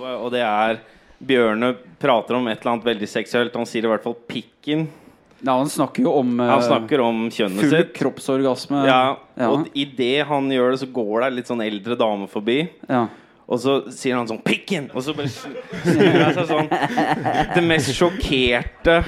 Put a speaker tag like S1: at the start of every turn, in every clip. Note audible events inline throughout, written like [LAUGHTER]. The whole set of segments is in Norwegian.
S1: Og det er Bjørne prater om et eller annet veldig seksuelt. Han sier i hvert fall 'pikken'.
S2: Nei, han snakker jo om eh,
S1: Han snakker om kjønnet
S2: full
S1: sitt.
S2: kroppsorgasme.
S1: Ja,
S2: Ja.
S1: Og idet han gjør det, så går det ei litt sånn eldre dame forbi.
S2: Ja.
S1: Og så sier han sånn 'Pikken!' Og så bare sn- snur han seg sånn. Det mest sjokkerte,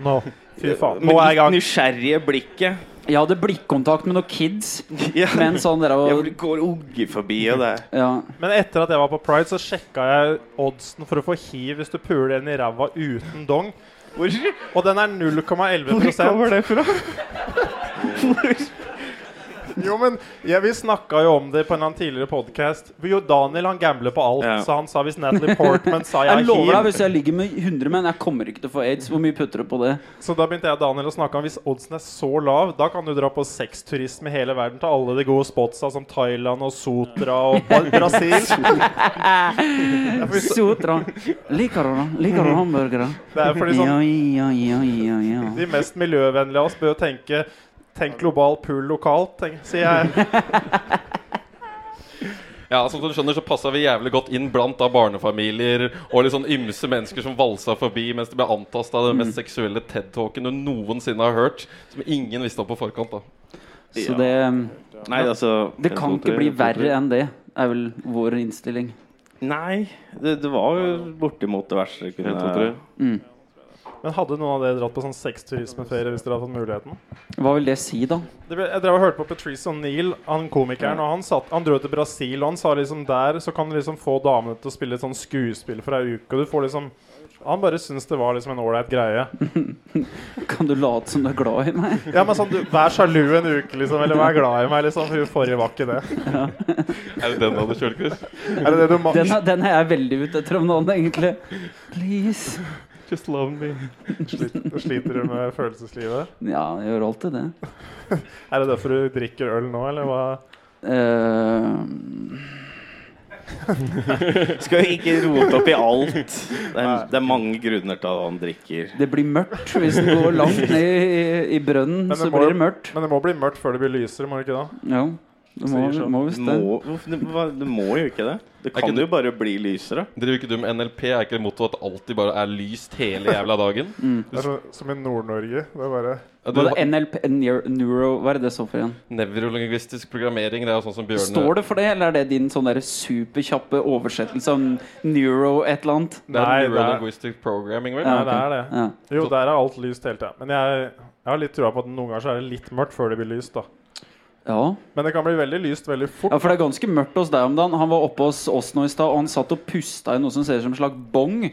S3: Nå. Fy faen.
S1: men
S3: Nå er jeg i
S1: litt
S3: gang.
S1: nysgjerrige blikket.
S2: Jeg hadde blikkontakt med noen kids.
S1: [LAUGHS] Ja.
S2: Men sånn der
S1: Jeg
S2: og,
S1: bare går ugge forbi, og det er
S2: ja.
S3: Men etter at jeg var på Pride, så sjekka jeg oddsen for å få hiv hvis du puler en i ræva uten dong.
S1: Hvor,
S3: Og den er 0,11
S1: det fra?
S3: [LAUGHS] Jo, men ja, Vi snakka jo om det på en eller annen tidligere podkast. Jo, Daniel han gambler på alt.
S1: Ja.
S3: Så han sa hvis Natalie Portman
S1: [LAUGHS]
S3: sa jeg
S2: Jeg
S3: har
S2: lover deg,
S3: hiv,
S2: hvis jeg ligger med 100 menn, jeg kommer ikke til å få aids. Hvor mye putter du på det?
S3: så da begynte jeg og Daniel å snakke om hvis oddsen er så lav, da kan du dra på sexturisme i hele verden til alle de gode spotsa som Thailand og Sotra og
S1: [LAUGHS]
S3: Bra- Brasil. Ja, for hvis-
S2: Sotra. Liker du det? Liker
S1: Mm.
S2: du hamburgere?
S3: Det er fordi sånn
S2: Ja, ja, ja, ja, ja.
S3: De mest miljøvennlige av oss bør tenke Tenk global, pool lokalt, tenk, sier jeg.
S4: Ja, altså, Som du skjønner, så passa vi jævlig godt inn blant da barnefamilier og litt sånn ymse mennesker som valsa forbi mens de ble antasta av den
S2: Mm.
S4: mest seksuelle TED-talken du noensinne har hørt. Som ingen visste om på forkant. da
S2: Så det, um,
S1: Nei, altså
S2: det kan ikke bli verre enn det, er vel vår innstilling.
S1: Nei, det, det var jo bortimot det verste. jeg Kunne...
S4: En, to, tre.
S2: Mm.
S3: Men hadde noen av dere dratt på sånn sexturismeferie hvis dere hadde fått muligheten?
S2: Hva vil det si, da?
S3: Det ble, jeg drev og hørte på Patrice O'Neill, han komikeren, og han, satt, han dro til Brasil, og han sa liksom der så kan du liksom få damene til å spille et sånn skuespill for ei uke, og du får liksom han bare syns det var liksom en ålreit greie.
S2: Kan du late som du er glad i meg?
S3: Ja, men sånn, du, Vær sjalu en uke, liksom. Eller vær glad i meg, liksom. For hun forrige var ikke det.
S4: Er det den du hadde kjørt, Chris?
S3: Er det det du ma
S2: Den er, den er jeg veldig ute etter om noen, egentlig. Please.
S4: Just love me.
S3: sliter, sliter du med følelseslivet?
S2: Ja, jeg gjør alltid det.
S3: Er det derfor du drikker øl nå, eller hva?
S2: Eh,
S1: Skal jo ikke rote opp i
S4: [LAUGHS]
S1: alt. Det er, det er mange grunner til at han drikker.
S2: det blir mørkt hvis du går langt ned i, i brønnen.
S3: Men
S2: Så
S3: det må-
S2: blir det mørkt.
S3: Men det må bli mørkt før det blir lysere, må det ikke da?
S2: Ja, det må,
S3: sånn,
S2: må visst det.
S1: Må, hvorfor- det, hva- det må jo ikke det. Det
S4: ikke
S1: kan
S4: det-
S1: jo bare bli lysere.
S4: Driver ikke du med NLP? Er ikke det motto at det alltid bare er lyst hele jævla dagen?
S3: Det er så, som i Nord-Norge. Det er bare
S4: Ja,
S2: Mm. Hva
S4: du,
S2: er det? NLP, neuro, neuro, hva er det det står for igjen?
S4: Nevrolingvistisk programmering, det er jo sånn som Bjørne
S2: Står det for det, eller er det din sånn der superkjappe oversettelse av neuro et eller annet?
S4: Det
S3: Nei,
S4: er
S3: det er-
S4: neurolinguistic programming, vel?
S3: Nei,
S2: ok.
S3: det er det.
S2: Ja.
S3: Jo, der er alt lyst hele tida. Men jeg, jeg har litt trua på at noen ganger så er det litt mørkt før det blir lyst, da.
S2: ja.
S3: Men det kan bli veldig lyst veldig fort.
S2: Ja, for det er ganske mørkt hos deg om dagen. Han var oppe hos oss nå i stad, og han satt og pusta i noe som ser ut som en slags bong i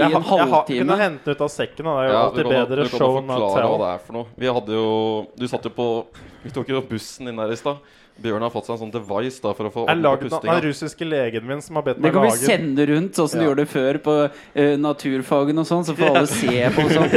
S2: en
S3: har- jeg har kunne
S2: halvtime.
S3: hente den ut av sekken. Da. Det er jo
S4: Ja, du
S3: alltid
S4: kan,
S3: bedre
S4: du kan
S3: show
S4: jo
S3: enn
S4: forklare hva
S3: tell.
S4: det er for noe. Vi hadde jo Du satt jo på Vi tok jo bussen inn her i stad. Bjørn har fått seg en sånn device da for å
S3: Jeg
S4: få orden på
S3: lagde den av den
S4: pustinga.
S3: russiske legen min som har bedt
S2: Det
S3: meg
S2: kan vi
S3: lage den.
S2: sende rundt, sånn som du gjorde det før på eh, naturfagen og sånn, så får alle se på og sånn.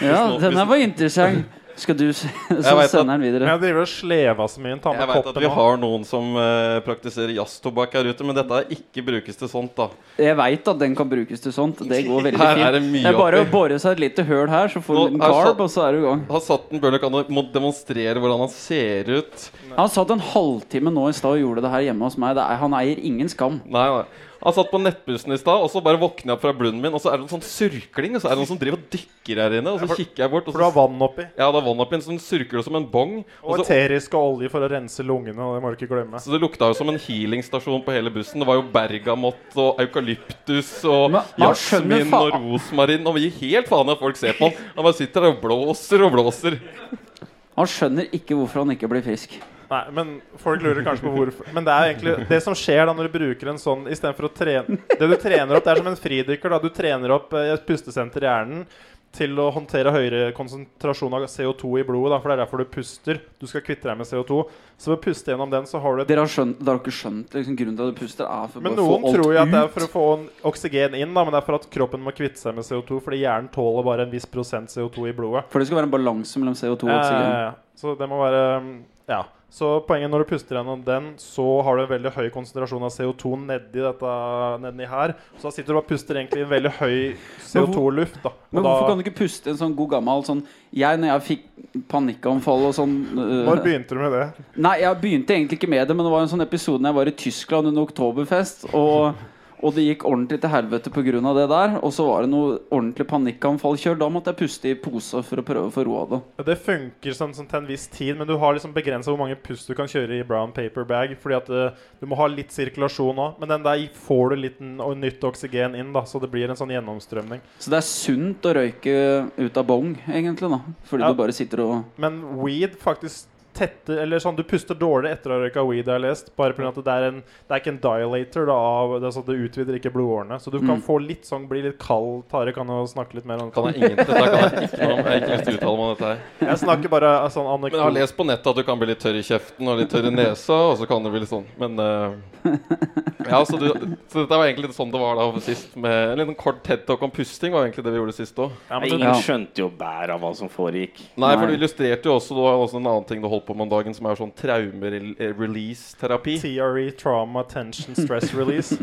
S2: Ja, den her var interessant. Skal du se Så
S4: vet at-
S2: sender den
S3: Men
S2: videre.
S3: Jeg driver og sleva så mye. Ta
S4: Jeg
S3: med
S4: veit at
S3: koppen
S4: vi
S3: nå.
S4: har noen som eh, praktiserer jazztobakk her ute, men dette er ikke brukes til sånt, da.
S2: Jeg veit at den kan brukes til sånt. Det går veldig
S4: Her er
S2: fint.
S4: det mye
S2: er bare å
S4: oppi.
S2: bore seg et lite høl her, så får du
S4: Nå
S2: en liten
S4: er satt-
S2: carb, og så er du i gang.
S4: Har satt den Bjørn kan må demonstrere hvordan han ser ut.
S2: Han satt en halvtime nå i stad og gjorde det her hjemme hos meg. Det er, han eier ingen skam.
S4: Nei, nei. Han satt på nettbussen i stad, og så bare våkner jeg opp fra blunden min, og så er det en sånn surkling, og så er det noen som driver og dykker her inne, og så kikker jeg bort, og
S3: For du
S4: så
S3: har vann oppi.
S4: ja, det er vann oppi en sånn surkler som en bong.
S3: Og
S4: så,
S3: eterisk og olje for å rense lungene. Og det må du ikke glemme.
S4: så det lukta jo som en healingstasjon på hele bussen. Det var jo bergamott og eukalyptus og
S2: Men han skjønner
S4: jasmin og
S2: faen-
S4: rosmarin. Og vi gir helt faen i at folk ser på han. Han bare sitter der og blåser og blåser.
S2: Han skjønner ikke hvorfor han ikke blir frisk.
S3: Nei, men folk lurer kanskje på hvorfor Men det er egentlig det som skjer da når du bruker en sånn istedenfor å trene Det du trener opp, det er som en fridykker. da Du trener opp eh, et pustesenter i hjernen til å håndtere høyere konsentrasjon av CO2 i blodet. da For det er derfor du puster. Du skal kvitte deg med CO2. Så ved å puste gjennom den, så har du et
S2: Dere har, skjønt, dere har ikke skjønt liksom, grunnen til at du puster? Er for
S3: men
S2: bare å få
S3: noen tror
S2: alt
S3: jo at det er
S2: ut.
S3: for å få en oksygen inn, da, men det er for at kroppen må kvitte seg med CO2. Fordi hjernen tåler bare en viss prosent CO2 i blodet.
S2: For det skal være en balanse mellom CO2 og oksygen.
S3: Eh, så det må være mm, Ja. Så poenget når du puster gjennom den, så har du en veldig høy konsentrasjon av CO2 nedi dette nedi her. Så da sitter du bare og puster egentlig i en veldig høy CO2-luft. da. Og
S2: Men
S3: da
S2: hvorfor kan du ikke puste en sånn god gammel sånn Jeg, når jeg fikk panikkanfall og sånn øh,
S3: Når begynte du med det?
S2: Nei, jeg begynte egentlig ikke med det, men det var en sånn episode når jeg var i Tyskland under Oktoberfest. Og, og det gikk ordentlig til helvete pga. det der. Og så var det noe ordentlig panikkanfall kjør. Da måtte jeg puste i pose for å prøve å få roa det.
S3: Det funker sånn, sånn til en viss tid, men du har liksom begrensa hvor mange pust du kan kjøre i brown paper bag. Fordi at eh, du må ha litt sirkulasjon òg. Men den der får du litt n- og nytt oksygen inn, da, så det blir en sånn gjennomstrømning.
S2: Så det er sunt å røyke ut av bong, egentlig, da. Fordi
S3: Ja.
S2: du bare sitter og
S3: Men weed faktisk tetter Eller sånn, du puster dårligere etter å ha røyka weed, har jeg lest. Bare pga. at det er, en, det er ikke en dilator. Da, av, det, er sånn at det utvider ikke blodårene. Så du
S4: Mm.
S3: kan få litt sånn, bli litt kald. Tare kan jo snakke litt mer om
S4: Kan jeg ingen, dette kan jeg ikke noe om. Jeg har ikke lyst til å uttale meg om dette her.
S3: Jeg snakker bare eh, sånn
S4: Men jeg har
S3: anekdote.
S4: lest på nettet at du kan bli litt tørr i kjeften og litt tørr i nesa. Og så kan du bli litt sånn Men
S2: [LAUGHS]
S4: eh, Ja, så, du, så dette var egentlig sånn det var da sist. Med en liten kort TED Talk om pusting var egentlig det vi gjorde sist òg.
S3: Ja, men sånn du-
S1: Ingen
S2: Ja.
S1: skjønte jo bæret av hva som
S2: [LAUGHS]
S1: foregikk.
S4: Nei, for du
S2: Nei.
S4: illustrerte jo også Det var også en annen ting du holdt på med om dagen, som er sånn traumerelease-terapi.
S3: TRE, trauma, tension, stress release.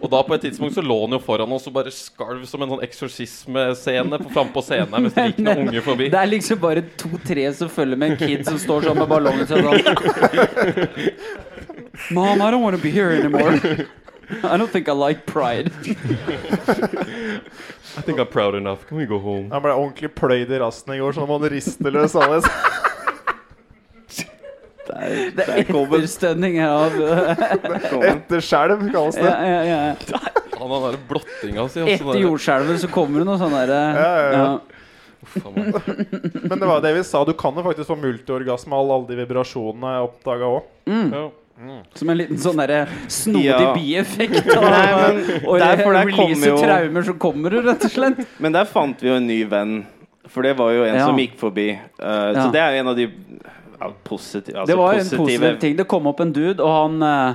S4: Og da på et tidspunkt så lå han jo foran oss og bare skalv som en sånn eksorsismescene på- frampå scenen her mens det gikk noen unge forbi.
S2: Det er liksom bare to-tre som følger med en kid som står sånn med ballongen sin sånn. [LAUGHS] Mom, I don't want to be here anymore. I don't think I like pride.
S4: I think I'm proud enough. Can we go home?
S3: Han ble ordentlig pløyd i rassen i går, så nå må han riste løs alle.
S1: Det
S2: Det er etterstønning av
S1: [LAUGHS]
S3: Etter skjelv, kalles det.
S2: ja, ja, ja.
S4: Han har den der blottinga si. altså,
S2: Etter
S4: den der-
S2: jordskjelvet så kommer det noe sånn derre
S3: ja, ja.
S4: Faen meg.
S3: Men det var det vi sa. Du kan jo faktisk få multiorgasme av alle de vibrasjonene jeg oppdaga òg.
S2: Mm.
S4: Ja.
S2: Som en liten sånn derre snodig
S1: Ja.
S2: bieffekt av
S1: Nei, men
S2: å
S1: derfor der kommer
S2: release
S1: jo-
S2: traumer som kommer, rett og slett.
S1: Men der fant vi jo en ny venn. For det var jo en
S2: Ja.
S1: som gikk forbi. Eh, Så
S2: Ja.
S1: det er jo en av de ja, positive, altså
S2: Det var en
S1: positive
S2: positiv ting. Det kom opp en dude, og han eh,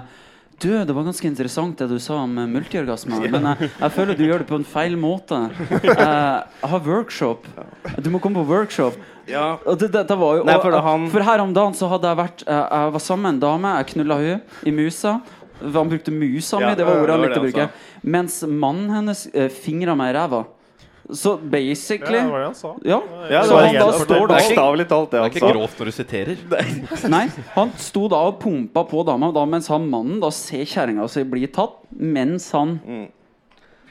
S2: Du, det var ganske interessant det du sa om eh, multiorgasme, men jeg, jeg føler du gjør det på en feil måte. Eh, ha workshop. Du må komme på workshop.
S1: Ja,
S2: Og det, dette var jo
S1: Nei,
S2: og-
S1: for det han-
S2: for her om dagen så hadde jeg vært eh, Jeg var sammen med en dame, jeg knulla hun i musa. Han brukte musa mi,
S1: Ja,
S2: det var ordet han
S1: det var
S2: likte å
S1: det han
S2: bruke. Mens mannen hennes uh, fingra meg i ræva. Så basically
S3: Ja, det var det han sa.
S2: Ja.
S1: ja,
S2: Så
S1: det var
S2: han da
S1: helt- Det
S2: står da
S1: er bokstavelig talt, det
S4: Det er
S1: han
S4: ikke
S1: sa.
S4: grovt når du siterer.
S2: Nei, han sto da og pumpa på dama, og da, mens han mannen da ser kjerringa si bli tatt. Mens han
S1: Mm.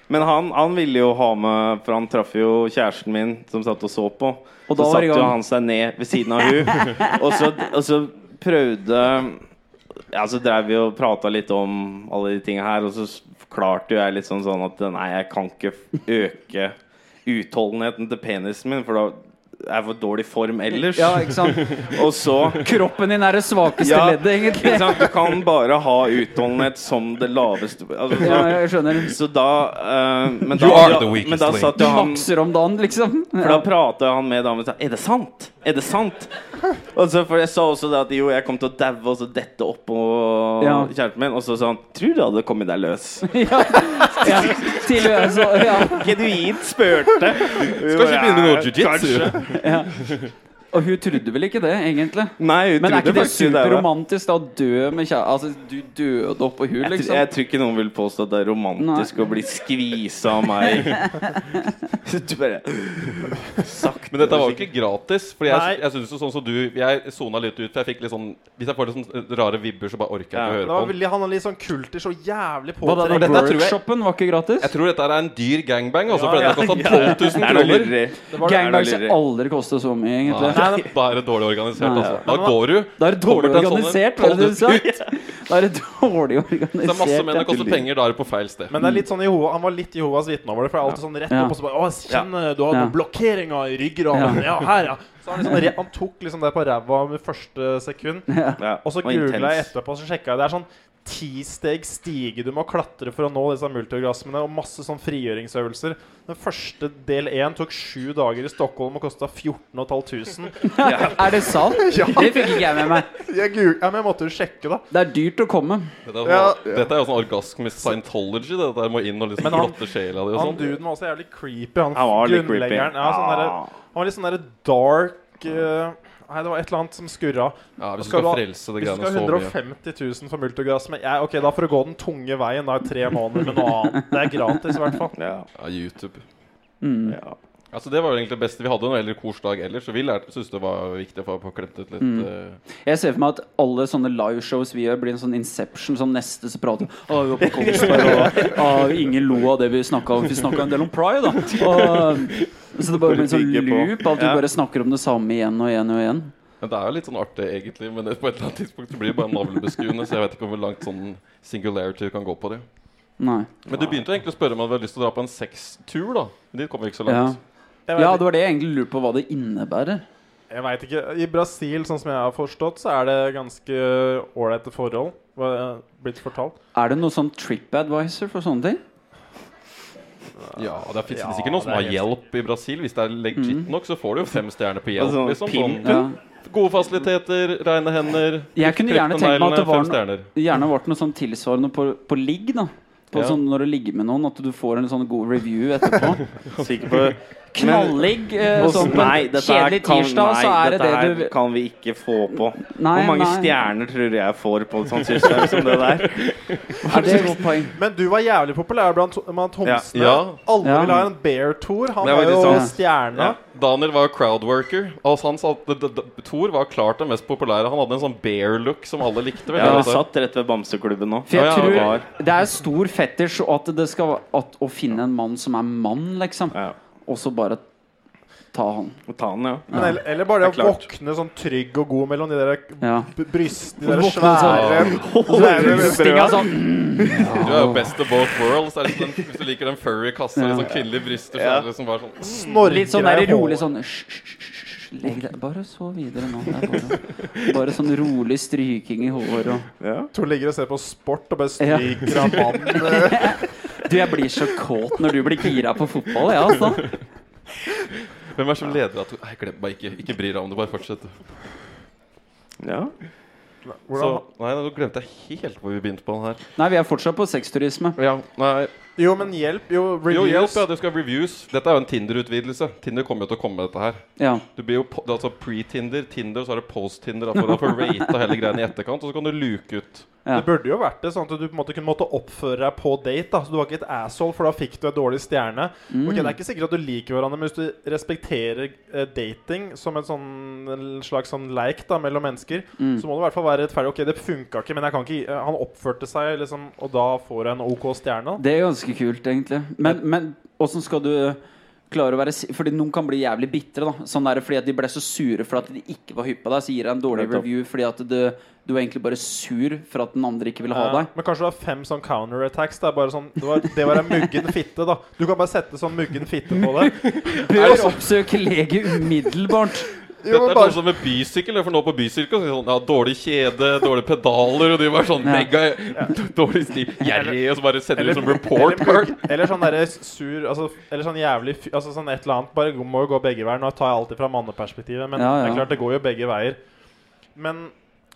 S1: Men han, han ville jo ha med For han traff jo kjæresten min, som satt og så på.
S2: Og da
S1: så
S2: var det
S1: satte
S2: i
S1: jo
S2: gang.
S1: han seg ned ved siden av
S2: [LAUGHS]
S1: hun og, så, og så prøvde Ja, så drev vi og prata litt om alle de tinga her, og så s- forklarte jo jeg litt sånn, sånn at nei, jeg kan ikke f- øke utholdenheten til penisen min, for da er jeg for dårlig form ellers.
S2: Ja, ikke
S1: [LAUGHS]
S2: sant?
S1: Og så
S2: Kroppen din er det svakeste
S1: Ja,
S2: leddet, egentlig.
S1: ikke sant? Du kan bare ha utholdenhet som det laveste altså, så,
S2: Ja, jeg skjønner.
S1: så da eh, Men da,
S4: You are
S1: ja,
S4: the weakest
S1: men da
S4: link.
S1: satt
S2: Du
S1: jo han
S2: vokser om dagen, liksom.
S1: For da
S2: Ja.
S1: prata han med damen og sa Er det sant? Er det sant? Og så, for jeg sa også det at jo, jeg kom til å daue og så dette oppå
S2: Ja.
S1: kjæresten min. Og så sa han Tror du hadde kommet deg løs?
S2: [LAUGHS] Ja. Ja. Til og med så, ja.
S1: Genuint spurte.
S4: Skal ikke begynne med noe jiu-jitsu.
S1: Kanskje.
S2: Og hun trodde vel ikke det, egentlig.
S1: Nei, hun
S2: Men er
S1: trodde
S2: ikke det
S1: faktisk det. var-
S2: superromantisk da, å dø med kjære... Altså, du døde oppå hun,
S1: Jeg, tror-
S2: liksom?
S1: jeg tror ikke noen vil påstå at det er romantisk å bli skvisa av meg. Du bare Sakte.
S4: Men dette var jo ikke gratis. Fordi jeg,
S3: Nei.
S4: jeg synes jo sånn som du Jeg sona litt ut, for jeg fikk litt sånn Hvis jeg får litt sånn rare vibber, så bare orker jeg
S1: Ja,
S4: ikke
S3: Det
S4: å
S3: var
S4: høre på. den.
S3: veldig, han var litt sånn kulter, så jævlig
S2: Hva da,
S3: påtrengende.
S4: dette
S2: den
S4: tror jeg-
S2: workshopen var ikke gratis?
S4: Jeg tror dette her er en dyr gangbang, også, for
S3: Ja,
S4: dette kosta 12 000
S1: Det er noe
S4: kroner.
S1: lureri. Det er
S2: Gangbang skal
S1: noe lureri.
S2: aldri koste så mye, egentlig.
S4: Nei, da er det dårlig organisert,
S2: Nei.
S4: altså. Da går du.
S2: Da er det
S4: kommer
S2: dårlig
S4: til en sånn en,
S2: organisert, var
S4: hold
S2: det du
S4: ut.
S2: sa? [LAUGHS] Da er det dårlig organisert.
S4: Det er masse menn det koster
S2: ja.
S4: penger, da er du på feil sted.
S3: Men det er litt sånn Jeho- han var litt Jehovas vitne over det. For det er alltid sånn rett
S2: Ja.
S3: opp og så bare Å, kjenn, du har
S2: Ja.
S3: noen blokkeringer i ryggraden. Ja, her, ja. Så han, liksom, re- han tok liksom det på ræva med første sekund.
S1: Ja,
S3: Og så googla jeg etterpå, så sjekka jeg. Det er sånn ti steg stige du må klatre for å nå disse multiorgasmene, og masse sånn frigjøringsøvelser. Den første del én tok sju dager i Stockholm og kosta 14 500.
S2: [LAUGHS] Er det sant? Det fikk ikke jeg med meg.
S3: Jeg, goog- ja, men jeg måtte jo sjekke, da.
S2: Det er dyrt å komme.
S4: Dette er,
S3: Ja.
S4: dette er jo sånn orgasmisk scientology. Dette der må inn og liksom
S3: Men han-
S4: blotte sjela di og
S3: Han
S4: sånn.
S3: duden var også jævlig creepy, han, sånn
S1: Han var litt creepy.
S3: grunnleggeren. Ja, sånn derre-
S1: Ah.
S3: han var litt sånn derre dark eh, Nei, det var et eller annet som skurra.
S4: Ja, hvis du
S3: Skal
S4: skal
S3: du ha-
S4: frelse det
S3: Hvis du
S4: greiene
S3: skal
S4: så
S3: ha
S4: mye.
S3: 150 000 for multigass men jeg, Ok, da får du gå den tunge veien da i tre måneder med noe annet. Det er gratis, i hvert fall.
S1: Ja,
S4: Ja, YouTube.
S1: ja.
S4: Altså Det var jo egentlig det beste vi hadde. Noe eller korsdag ellers. Så vi lærte, synes det var viktig å få- få klemt ut litt eh,
S2: Jeg ser for meg at alle sånne liveshows vi gjør, blir en sånn Inception. Sånn neste så prater vi «Å, vi var på Kongsberg, og «Å, ingen lo av det vi snakka om. Vi snakka en del om Pride, da. Og, så det bare blir en sånn
S1: Bygge på.
S2: loop av at vi
S1: Ja.
S2: bare snakker om det samme igjen og igjen og igjen.
S4: Men Det er jo litt sånn artig, egentlig. Men det, på et eller annet tidspunkt så blir det bare navlebeskuende. Så jeg vet ikke hvor langt sånn singularity kan gå på det.
S2: Nei.
S4: Men du begynte jo egentlig å spørre om du hadde lyst til å dra på en sextur, da. Men dit kom vi ikke så
S2: Ja.
S4: langt.
S3: Jeg vet
S2: ja,
S3: ikke-
S2: det var det jeg egentlig lurte på hva det innebærer.
S3: Jeg vet ikke. I Brasil, sånn som jeg har forstått, så er det ganske ålreite forhold. Hva er blitt fortalt.
S2: Er det noe sånn TripAdvisor for sånne ting?
S4: Ja, Det finnes
S3: Ja,
S4: sikkert noen som
S3: det er
S4: har hjelp i Brasil. Hvis det er legit nok, så får du jo fem stjerner på hjelp.
S1: Mm. Altså,
S4: Liksom,
S1: pimp.
S4: sånn.
S2: Ja.
S4: Gode fasiliteter, reine hender.
S2: Jeg kunne gjerne
S4: klipp på
S2: tenkt meg at det
S4: neglene,
S2: var
S4: fem
S2: no-
S4: stjerner.
S2: gjerne vært noe sånn tilsvarende på, på ligg, da. På
S4: Ja.
S2: sånn når du ligger med noen, at du får en sånn god review
S1: [LAUGHS]
S2: etterpå.
S1: Sikker på
S2: Knalligg. Eh,
S1: Og-
S2: sånn på
S1: nei,
S2: en
S1: dette her
S2: kjedelig
S1: kan,
S2: tirsdag,
S1: nei,
S2: så er det
S1: dette her
S2: det du
S1: kan vi ikke få på.
S2: Nei,
S1: Hvor mange
S2: nei.
S1: stjerner tror du jeg får på et sånt system som det
S2: [LAUGHS]
S1: der?
S2: Er det et godt poeng?
S3: Men du var jævlig populær blant blant homsene.
S4: Ja.
S3: Alle
S2: Ja.
S3: ville ha en bear-tour. Han
S4: Det er
S3: var jo
S4: faktisk
S2: sant.
S3: stjerna.
S4: sånn- Ja. Daniel var crowdworker. Altså han sa at d- d- d- Thor var klart den mest populære. Han hadde en sånn bear look som alle likte. veldig
S1: Jeg har
S4: godt.
S1: satt rett ved bamseklubben nå.
S2: For jeg
S4: Ja, ja,
S2: tror
S1: var.
S2: Det er stor fetisj og at det skal at å finne en mann som er mann, liksom.
S1: Ja.
S2: Og så bare ta han.
S1: Ta den, ja.
S3: Men eller, eller bare det
S1: Det er
S3: å
S1: klart.
S3: våkne sånn trygg og god mellom de der
S2: Ja.
S3: b- brystene, de der
S2: Våkne
S3: svære
S1: Brysting,
S2: Stinga sånn
S4: Du er jo best of both worlds. Er det sånn, hvis du liker den furry kassa og
S2: Ja.
S4: litt sånn kvinnelige bryster, så
S1: Ja.
S4: er det liksom bare sånn
S3: snorker
S2: Litt sånn der
S3: i
S2: rolig
S3: håret.
S2: sånn hysj, hysj, hysj, hysj, Legg deg Bare så videre nå. Det er bare, bare sånn rolig stryking i håret og
S1: ja.
S3: Tor ligger og ser på sport og bare
S2: Ja.
S3: stryker av
S4: [LAUGHS]
S3: mannen.
S2: Du, jeg blir så kåt når du blir gira på fotball, jeg, altså.
S4: Hvem er det som leder at Nei, glem meg ikke. Ikke bry deg om det, bare fortsett.
S1: ja.
S4: Så,
S3: Hvordan,
S4: nei, nå glemte jeg helt hvor vi begynte på den her.
S2: Nei, vi er fortsatt på sexturisme.
S4: Ja, nei
S3: jo, men hjelp. Jo,
S4: Jo, hjelp,
S3: reviews.
S4: ja. Du skal ha reviews. Dette er jo en Tinder-utvidelse. Tinder kommer jo til å komme med dette her.
S2: Ja.
S4: Du blir jo po- det er altså pre-Tinder, Tinder, og så er det post-Tinder. da, For da får
S3: [LAUGHS]
S4: du rata hele greiene i etterkant, og så kan du luke ut.
S2: Ja.
S3: Det burde jo vært det, sånn at du på en måte kunne måtte oppføre deg på date. da Så Du var ikke et asshole, for da fikk du en dårlig stjerne.
S4: Mm.
S3: Ok, Det er ikke sikkert at du liker hverandre, men hvis du respekterer eh, dating som en, sånn, en slags sånn leik da mellom mennesker,
S4: Mm.
S3: så må du i hvert fall være rettferdig. Ok, det funka ikke, men jeg kan ikke eh, Han oppførte seg, liksom, og da får jeg en OK stjerne. da.
S2: Det er ganske kult, egentlig. Men, men åssen skal du eh, klare å være si- Fordi noen kan bli jævlig bitre. da Sånn der, Fordi at de ble så sure for at de ikke var hypp på deg. Så gir jeg en dårlig
S1: Nettopp.
S2: review fordi at det, du er egentlig bare sur for at den andre ikke vil ha
S3: Eh,
S2: deg.
S3: Men kanskje du har fem sånn counterattacks. Det er bare sånn Det var, det var en muggen fitte, da. Du kan bare sette sånn muggen fitte på det.
S2: Bør oppsøke lege umiddelbart.
S3: Jo, men
S4: Dette er sånn
S3: bare
S4: som med bysykkel. For nå på bysykkel så er det sånn, ja, dårlig kjede, dårlige pedaler, og de var sånn
S2: Ja.
S4: mega dårlig stil. Gjerrig, og så bare sender de ut som report
S3: Eller,
S4: card.
S3: eller sånn derre sur altså, Eller sånn jævlig fy- altså, sånn et eller annet. Bare gå- må jo gå begge veier. Nå tar jeg alltid fra manneperspektivet, men
S2: Ja, ja.
S3: det er klart det går jo begge veier. Men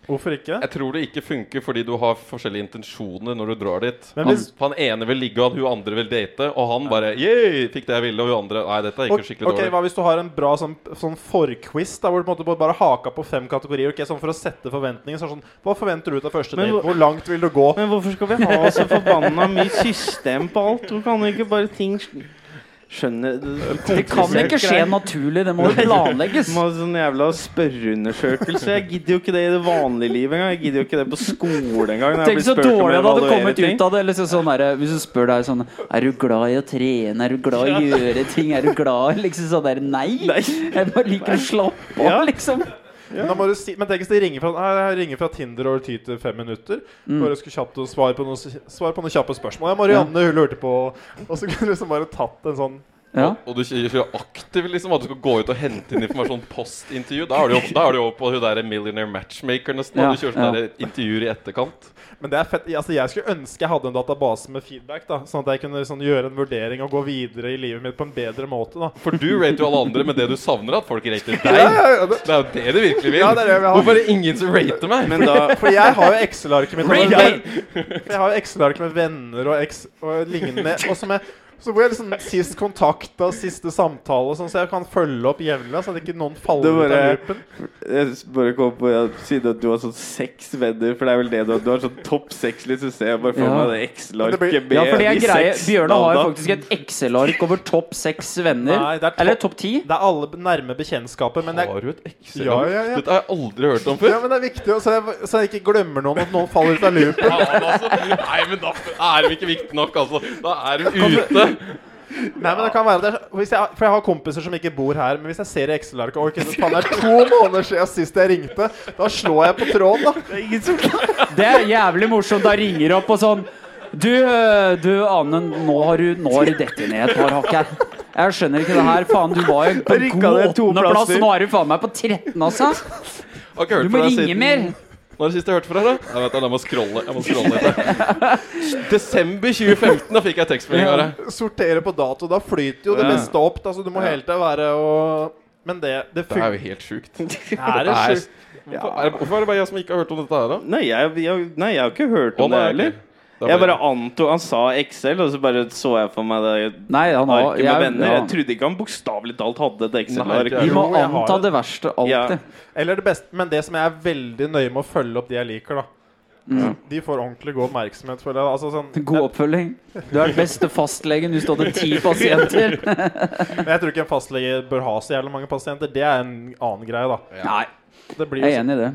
S3: hvorfor ikke?
S4: Jeg tror det ikke funker fordi du har forskjellige intensjoner når du drar dit.
S3: Men
S4: han,
S3: hvis-
S4: han ene vil ligge, og hun andre vil date, og han bare yeah, fikk det jeg ville, og hun andre Nei, dette gikk
S3: Ok,
S4: jo skikkelig
S3: ok,
S4: dårlig.
S3: Hva hvis du har en bra sånn, sånn forquiz, da, hvor du på en måte bare haka på fem kategorier? Ok, sånn For å sette forventninger. Sånn, sånn, hva forventer du ut av første
S1: Men
S3: date?
S1: hvor-
S3: Hvor langt vil du gå?
S1: Men hvorfor skal vi ha så forbanna mye system på alt? Hvorfor kan ikke bare ting skjønne
S2: Det kan ikke skje naturlig. Det må jo planlegges.
S1: Må ha sånn jævla spørreundersøkelse. Jeg gidder jo ikke det i det vanlige livet engang. Jeg gidder jo ikke det på skole engang. når jeg
S2: Tenk
S1: blir
S2: så
S1: spurt om
S2: dårlig det hadde
S1: evaluering
S2: kommet
S1: ting.
S2: ut av det. Eller så, sånn der, hvis du spør deg sånn Er du glad i å trene? Er du glad i å gjøre ting? Er du glad i liksom sånn der Nei!
S1: Nei.
S2: Jeg bare liker å slappe av,
S1: Ja.
S2: liksom.
S3: Men da må du si, men tenk hvis de ringer fra, nei, jeg ringer fra Tinder over tid til fem minutter. Bare skulle kjapt og svare på, noen, svare på noen kjappe spørsmål. Ja, Marianne hun lurte på Og så [LAUGHS] kunne du liksom bare tatt en sånn
S2: Ja.
S4: Og du kjører kjører aktiv liksom at du skal gå ut og hente inn informasjon postintervju. Da er du jo da er du jo på hun der millionaire matchmaker nesten.
S2: Ja,
S4: og du kjører sånne
S2: ja.
S4: der intervjuer i etterkant.
S3: Men det er fett. Altså, jeg skulle ønske jeg hadde en database med feedback, da sånn at jeg kunne sånn, gjøre en vurdering og gå videre i livet mitt på en bedre måte. da
S4: For du rater jo alle andre, men det du savner, er at folk rater deg. Det er jo det du virkelig vil.
S3: Ja, det er det vi har.
S4: Hvorfor er det ingen som rater meg?
S1: Men da
S3: For jeg har jo Excel-arket mitt.
S2: Ray,
S3: Jeg, jeg har jo Excel-arket med venner og, ex, og lignende. Og som jeg Så hvor jeg liksom Sist kontakt og siste samtale, og sånn, så jeg kan følge opp jevnlig. Så at ikke noen
S1: Det
S3: faller ut av
S1: bare-
S3: loopen.
S1: Jeg s- bare kom på ja, Siden at du har sånn seks venner, for det er vel det du har? Du har sånn topp seks-liste, så ser jeg bare for meg
S2: Ja.
S1: det
S3: Men det blir-
S1: Excel-arket med
S2: Ja, for det er
S1: de
S2: greie.
S1: seks
S2: Bjørne har jo
S1: navna.
S2: faktisk et Excel-ark over topp seks venner.
S3: Nei, det er topp-
S2: Eller topp ti.
S3: Det er alle nærme bekjentskaper, men det er
S4: Har du et excel
S3: Ja, ja, ja.
S4: Dette har jeg aldri hørt om før.
S3: ja, men det er viktig, og så jeg, så jeg ikke glemmer noen at noen faller ut av loopen.
S4: Faen, altså. Nei, men da er de ikke viktige nok, altså. Da er de ute.
S3: [LAUGHS] Nei, men det kan være det er, hvis jeg, For jeg har kompiser som ikke bor her, men hvis jeg ser i Excel-arket og ikke, så faen, det er [LAUGHS] to måneder siden sist jeg ringte, da slår jeg på tråden, da.
S2: Det er jævlig morsomt. Da ringer det opp og sånn Du, øh, du Ane, nå har du, nå har du dette ned et par hakk her. Jeg skjønner ikke det her. Faen, du var jo på
S1: Da rykka
S2: god
S1: det to
S2: åttendeplass,
S1: plasser.
S2: og nå er du faen meg på 13, altså.
S4: Har ikke hørt
S2: Du må
S4: fra deg
S2: ringe
S4: siden-
S2: mer.
S4: Når er det siste jeg hørte fra deg? da? Jeg vet, jeg må scrolle. Jeg må scrolle litt.
S3: [LAUGHS]
S4: Desember 2015, da fikk jeg tekstmelding av deg.
S3: Sortere på dato, da flyter jo det
S1: Ja.
S3: meste opp. Da, så du må
S1: Ja.
S3: hele tida være og Men det, det
S4: Det er
S3: funker.
S4: jo helt
S3: [LAUGHS]
S4: sjukt.
S3: Er det
S4: Nei,
S3: sjukt?
S4: Hvorfor er det- hvorfor er det bare jeg som ikke har hørt om dette her, da?
S1: Nei, jeg, jeg, nei, jeg har ikke hørt om
S4: Å, nei,
S1: det heller.
S4: ok. Da
S1: Jeg
S4: blir-
S1: bare antok Han sa Excel, og så bare så jeg for meg det
S2: Nei, han har
S1: arket med venner. Jeg
S2: jeg, ja.
S1: trodde ikke han bokstavelig talt hadde et
S4: Nei,
S1: Excel-ark.
S4: ikke
S2: Vi må
S3: Jo, jeg har
S2: anta
S3: det.
S2: det verste
S1: Ja.
S2: alltid.
S3: Eller det beste Men det som jeg er veldig nøye med å følge opp de jeg liker, da.
S4: Mm.
S3: De får ordentlig god oppmerksomhet for det. Altså,
S2: [LAUGHS]
S3: sånn,
S2: God oppfølging. Du er den beste fastlegen. Du står til ti pasienter.
S3: men jeg tror ikke en fastlege bør ha så jævlig mange pasienter. Det er en annen greie, da.
S2: Nei,
S3: Det blir,
S2: jeg
S3: jo
S2: er
S3: så-
S2: enig i det.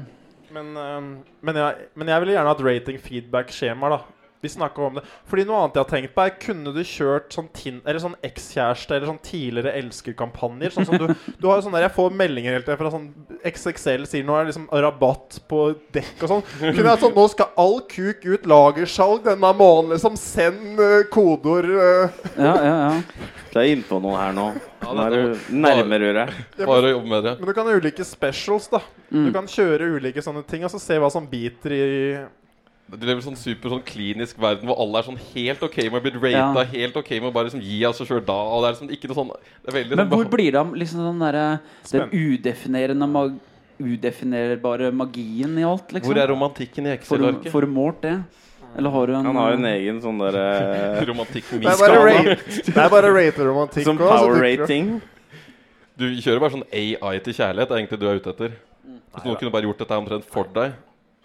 S3: men, øhm, men, jeg, men jeg ville gjerne hatt rating feedback-skjemaer, da. Vi snakka om det. Fordi noe annet jeg har tenkt på, er kunne du kjørt sånn tin Eller sånn ekskjæreste eller sånn tidligere elskerkampanjer? Sånn som du Du har jo sånn der Jeg får meldinger hele tiden fra sånn XXL sier nå er det liksom rabatt på dekk og sånn. Kunne jeg hatt sånn Nå skal all kuk ut lagersalg denne måneden, liksom. Send uh, kodeord øh.
S2: Ja, ja, ja.
S1: Du er innpå noe her nå.
S4: Ja,
S1: Nå er
S4: dette
S1: du nærmere røret.
S4: Bare å jobbe med det.
S3: Men du kan ha ulike specials, da.
S2: Mm.
S3: Du kan kjøre ulike sånne ting, og så se hva som biter i
S4: Du lever i sånn super sånn klinisk verden hvor alle er sånn helt ok med å bli rata,
S2: Ja.
S4: helt ok med å bare liksom gi av seg sjøl da. Og det er liksom ikke noe sånn Det er veldig
S2: Men
S4: sånn
S2: hvor
S4: behag-
S2: blir det av liksom den derre den
S3: Spennende.
S2: udefinerende mag udefinerbare magien i alt, liksom?
S4: hvor er romantikken
S2: Får
S4: i
S2: du-
S4: Excel-arket?
S2: Får du målt det? Eller har du en
S1: Han har jo en egen sånn
S4: [LAUGHS]
S1: derre
S4: Romantikk
S3: Det er
S4: minst.
S3: bare,
S1: Skala.
S3: rate, det er bare
S1: [LAUGHS]
S3: rate romantikk.
S1: Som
S3: også, så
S1: power
S3: dukker det opp.
S1: rating.
S4: Du kjører bare sånn AI til kjærlighet, det er egentlig du er ute etter. Hvis noen kunne bare gjort dette her omtrent for deg.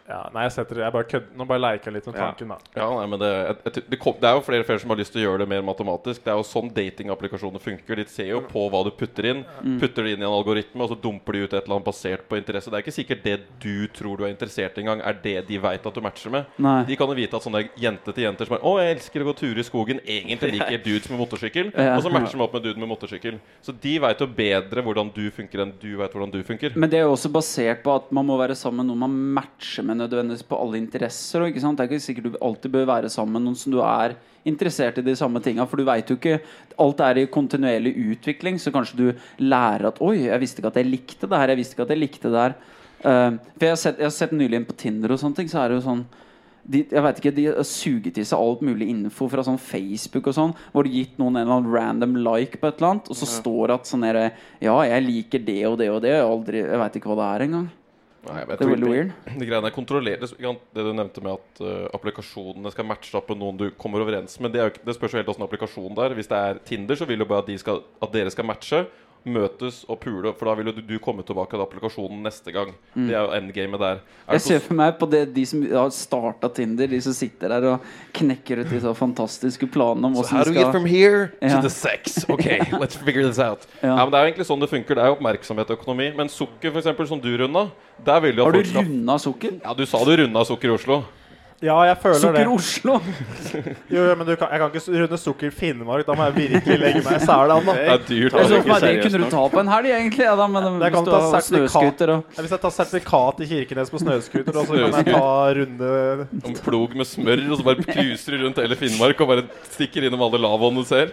S3: Ja, nei, jeg setter Jeg bare kødder. Nå bare leker jeg litt med
S1: Ja.
S3: tanken, da.
S4: Ja, nei, men det, jeg, jeg, tror- det, kom, det er jo flere og flere som har lyst til å gjøre det mer matematisk. Det er jo sånn datingapplikasjoner funker. De ser jo på hva du putter inn. Putter det inn i en algoritme, og så dumper de ut et eller annet basert på interesse. Det er ikke sikkert det du tror du er interessert i engang, er det de veit at du matcher med.
S2: Nei.
S4: De kan jo vite at sånne jente til jenter som er 'Å, jeg elsker å gå turer i skogen', egentlig liker dudes med motorsykkel.
S2: Ja.
S4: Og så matcher de opp med dude med motorsykkel. Så de veit jo bedre hvordan du funker, enn du veit hvordan du funker.
S2: Men det er jo også basert på at man må være sammen med noen man matcher med nødvendigvis på alle interesser. Og ikke sant? Det er ikke sikkert du alltid bør være sammen med noen som du er interessert i de samme tinga. For du veit jo ikke Alt er i kontinuerlig utvikling, så kanskje du lærer at Oi, jeg visste ikke at jeg likte det her. Jeg visste ikke at jeg likte det her. Eh, for jeg har sett, jeg har sett nylig inn på Tinder og sånne ting, så er det jo sånn de, jeg vet ikke, de har suget i seg alt mulig info fra sånn Facebook og sånn. Hvor de har gitt noen en eller annen random like på et eller annet. Og så står det at sånn der, Ja, jeg liker det og det og det. Jeg, har aldri, jeg veit ikke hva det er engang.
S4: Nei, jeg vet
S2: Det er
S4: ikke.
S2: veldig weird.
S4: De greiene er kontrolleres ikke sant? Det du nevnte med at eh, applikasjonene skal matche opp med noen du kommer overens med, det, er jo ikke, det spørs jo helt åssen applikasjon det er. Hvis det er Tinder, så vil jo bare at, de skal, at dere skal matche, møtes og pule, for da vil jo du, du komme tilbake til applikasjonen neste gang. Det er jo endgamet der.
S2: Mm. Jeg
S4: Er det sånn
S2: ser for meg på det, de som har starta Tinder, de som sitter der og knekker ut disse fantastiske planene om
S4: så, how
S2: åssen
S4: do
S2: de
S4: you get
S2: skal
S4: from here
S2: Ja.
S4: to the sex?
S2: [LAUGHS]
S4: Ok, let's figure this out.
S2: Ja.
S4: Ja. men Det er jo egentlig sånn det funker. Det er jo oppmerksomhet og økonomi. Men sukker, for eksempel, som du runda, der vil jo
S2: Har
S4: folk
S2: du
S4: skal-
S2: runda sukker?
S4: Ja, du sa du runda sukker i Oslo.
S3: Ja, jeg føler det.
S2: Sukker Oslo!
S3: Jo, jo, men du kan, jeg kan ikke runde sukker i Finnmark. Da må jeg virkelig legge meg i selen. da.
S4: Det er dyrt.
S1: Tar det
S2: Jeg så
S1: ikke
S2: for meg det
S1: seriøst
S2: kunne du
S1: nok.
S2: ta på en helg, egentlig. Ja, da, men
S3: Jeg
S2: hvis
S3: kan
S2: du
S3: ta
S2: har
S3: sertifikat.
S2: snøskuter og
S3: Nei, Hvis jeg tar sertifikat i Kirkenes på snøscooter, da, så kan jeg ta runde
S4: En plog med smør, og så bare cruiser du rundt hele Finnmark og bare stikker innom alle lavaene du ser.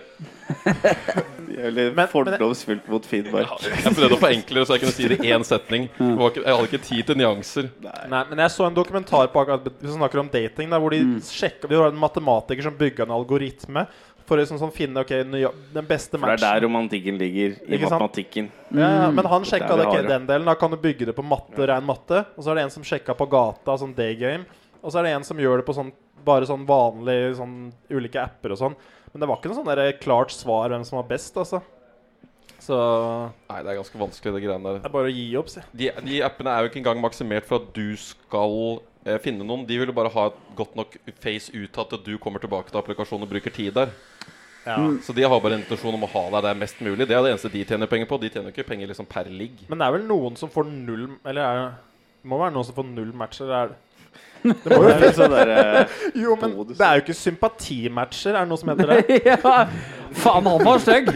S1: Jævlig
S3: men-
S1: fordomsfullt mot Finnmark.
S4: Jeg prøvde å forenkle det så jeg kunne si det i én setning. Det var ikke, jeg hadde ikke tid til nyanser.
S3: Nei, men jeg så en dokumentar på akkurat Hvis vi snakker om dating, der, hvor
S1: Mm.
S3: de sjekka Det var en matematiker som bygga en algoritme for å liksom sånn finne ok, nøya- den beste
S1: For det er der
S3: matchen.
S1: romantikken ligger. I
S3: Ikke sant?
S1: matematikken.
S3: Ja, ja, men han
S1: Der
S3: sjekka
S1: vi
S3: Mm. det ikke
S1: har det.
S3: den delen. Da kan du bygge det på matte, ren matte. Og så er det en som sjekka på gata, sånn day game. Og så er det en som gjør det på sånn bare sånn vanlig sånn ulike apper og sånn. Men det var ikke noe sånn der klart svar hvem som var best, altså. Så det
S4: Nei, det er ganske vanskelig, det greiene der.
S3: er bare å gi opp, si.
S4: De, de appene er jo ikke engang maksimert for at du skal eh, finne noen. De vil jo bare ha et godt nok face utad til at du kommer tilbake til applikasjonen og bruker tid der.
S3: Ja.
S4: Så de har bare en intensjon om å ha deg der mest mulig. Det er det eneste de tjener penger på. De tjener jo ikke penger liksom per ligg.
S3: Men det er vel noen som får null Eller er det, det må være noen som får null matcher? Eller er det? Det må
S1: Det er
S3: jo, [LAUGHS]
S1: litt sånn der, eh,
S3: jo, men det er jo ikke sympatimatcher, er det noe som heter [LAUGHS] det?
S2: ja. Faen, han var stygg!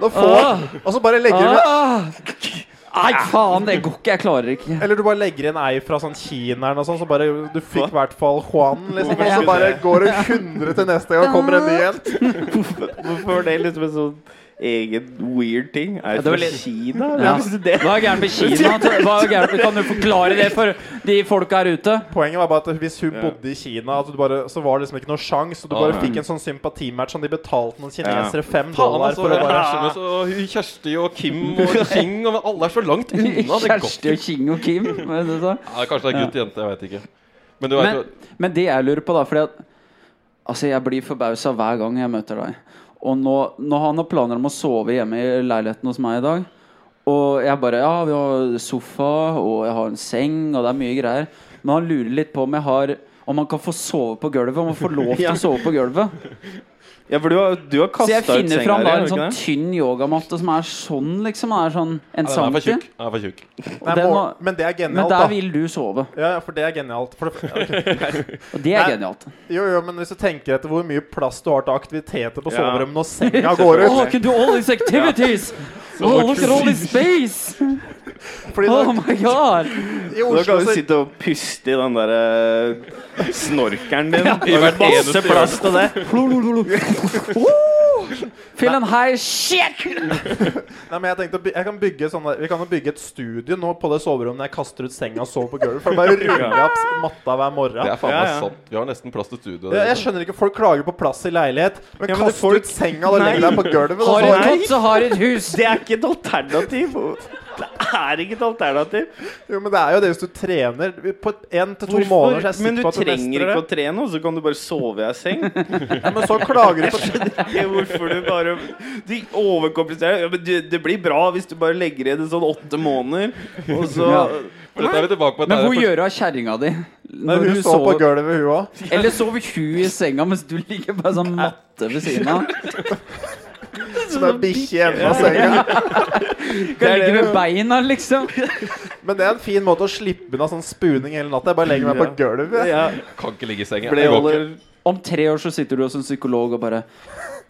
S3: Da får, og så bare legger du
S2: Ah. Nei, faen, det går ikke. Jeg klarer ikke.
S3: Eller du bare legger inn ei fra sånn kineren og sånn, så bare du fikk i hvert fall Juan.
S1: Hvorfor
S3: Liksom, og så
S1: skulle
S3: bare
S1: det?
S3: går det 100 til neste gang, og kommer en ny [LAUGHS] en.
S1: Hvorfor var det liksom en sånn egen weird ting? Er
S2: det var
S1: det fra
S2: litt-
S1: Kina?
S2: Ja.
S1: Hvem visste det?
S2: Hva er gærent med
S4: [LAUGHS]
S2: Kina? Hva er gærent? Kan du forklare det for de folka her ute?
S3: Poenget var bare at hvis hun bodde i Kina, at du bare, så var det liksom ikke noe sjans. Og du bare
S4: Ah, ja.
S3: fikk en sånn sympatimatch som de betalte noen kinesere fem
S4: Faen,
S3: dollar
S4: altså.
S3: for å bare
S4: Kjersti og Kjersti og Kim og Xing og alle er så langt unna. Det går
S2: Kjersti
S4: ikke.
S2: og King og Kim. hva er det du sa?
S4: Ja, kanskje det er gutt og jente, jeg vet ikke. Men du vet,
S2: Men, men det jeg lurer på, da Fordi at Altså, jeg blir forbausa hver gang jeg møter deg. Og nå, når han har planer om å sove hjemme i leiligheten hos meg i dag Og jeg bare Ja, vi har sofa, og jeg har en seng, og det er mye greier. Men han lurer litt på om jeg har om han kan få sove på gulvet. Om han får lov til
S4: [LAUGHS]
S1: Ja.
S2: å sove på gulvet.
S1: Ja, for du har, du har
S2: Så
S1: kasta
S2: jeg
S1: ut senga
S2: finner fram
S1: di,
S2: da
S1: har
S2: en
S1: du ikke
S2: sånn
S1: det?
S2: tynn yogamatte som er sånn, liksom. Er sånn en
S4: ja, den er for
S2: centimeter.
S4: tjukk. Den er for tjukk.
S2: Og
S3: Nei,
S2: den
S3: må,
S2: har-
S3: men det er
S2: Men
S3: genialt,
S2: der
S3: da.
S2: vil du sove.
S3: Ja, ja, for det er genialt. For det, ok.
S2: Og det er
S3: Nei.
S2: genialt.
S3: Jo, jo, men hvis du tenker etter hvor mye plass du har til aktiviteter på
S1: Ja.
S3: soverommet når [LAUGHS] senga går
S2: Oh,
S3: ut
S2: I can do all these activities! Oh, look at all this space!
S3: Fordi
S2: Oh
S3: da,
S2: my god!
S3: i
S1: Da
S3: Oslo
S1: kan du
S3: så
S1: sitte og puste i den der eh, snorkeren
S2: [LAUGHS]
S1: din.
S4: I hvert
S1: Masse
S4: eneste
S1: plass til det.
S2: Oh, Fill en high shit!
S3: Nei, men jeg tenkte å by- jeg kan bygge sånn der, Vi kan jo bygge et studio nå på det soverommet der jeg kaster ut senga og sover på gulvet. For det bare ruller jeg opp matta hver
S4: Det
S3: morgen.
S4: er faen
S1: Ja,
S4: meg
S1: ja.
S4: sant. Vi har nesten plass til
S3: Jeg,
S4: studio. Der. liksom.
S3: jeg skjønner ikke, Folk klager på plass i leilighet, men
S1: Ja, men
S3: kast
S1: folk-
S3: ut senga og
S1: Nei.
S3: legg deg på gulvet.
S2: Har et
S3: Da,
S1: Nei.
S2: kott, så har et hus.
S1: Det er ikke et alternativ. Det er ikke et alternativ.
S3: så, jo, men det er jo det hvis du trener på én til to måneder. Så er jeg
S1: Hvorfor? Men
S3: sikker
S1: du
S3: på at du
S1: trenger
S3: mestrer
S1: ikke å
S3: det.
S1: trene, og så kan du bare sove i ei seng.
S3: Ja, men så klager
S1: [LAUGHS]
S3: du på
S1: Det er Hvorfor du bare Du overkompliserer. Ja, men du, det blir bra hvis du bare legger igjen en sånn åtte måneder, og så
S2: Ja.
S4: For dette er vi tilbake på.
S2: Men
S4: Dette
S2: hvor
S4: er for-
S2: gjør du av kjerringa di? Når
S3: Hun
S2: du
S3: står på
S2: sover,
S3: gulvet, hun òg.
S2: eller sover hun i senga mens du ligger på en sånn matte ved siden av?
S3: Som en bikkje i enden av senga.
S2: Kan ligge ved beina, liksom.
S3: Men det er en fin måte å slippe unna sånn spooning hele natta. Jeg bare legger meg på gulvet.
S1: ja,
S4: Kan ikke ligge i sengen.
S1: ble
S4: Det går
S1: holder
S4: ikke.
S2: Om tre år så sitter du hos en psykolog og bare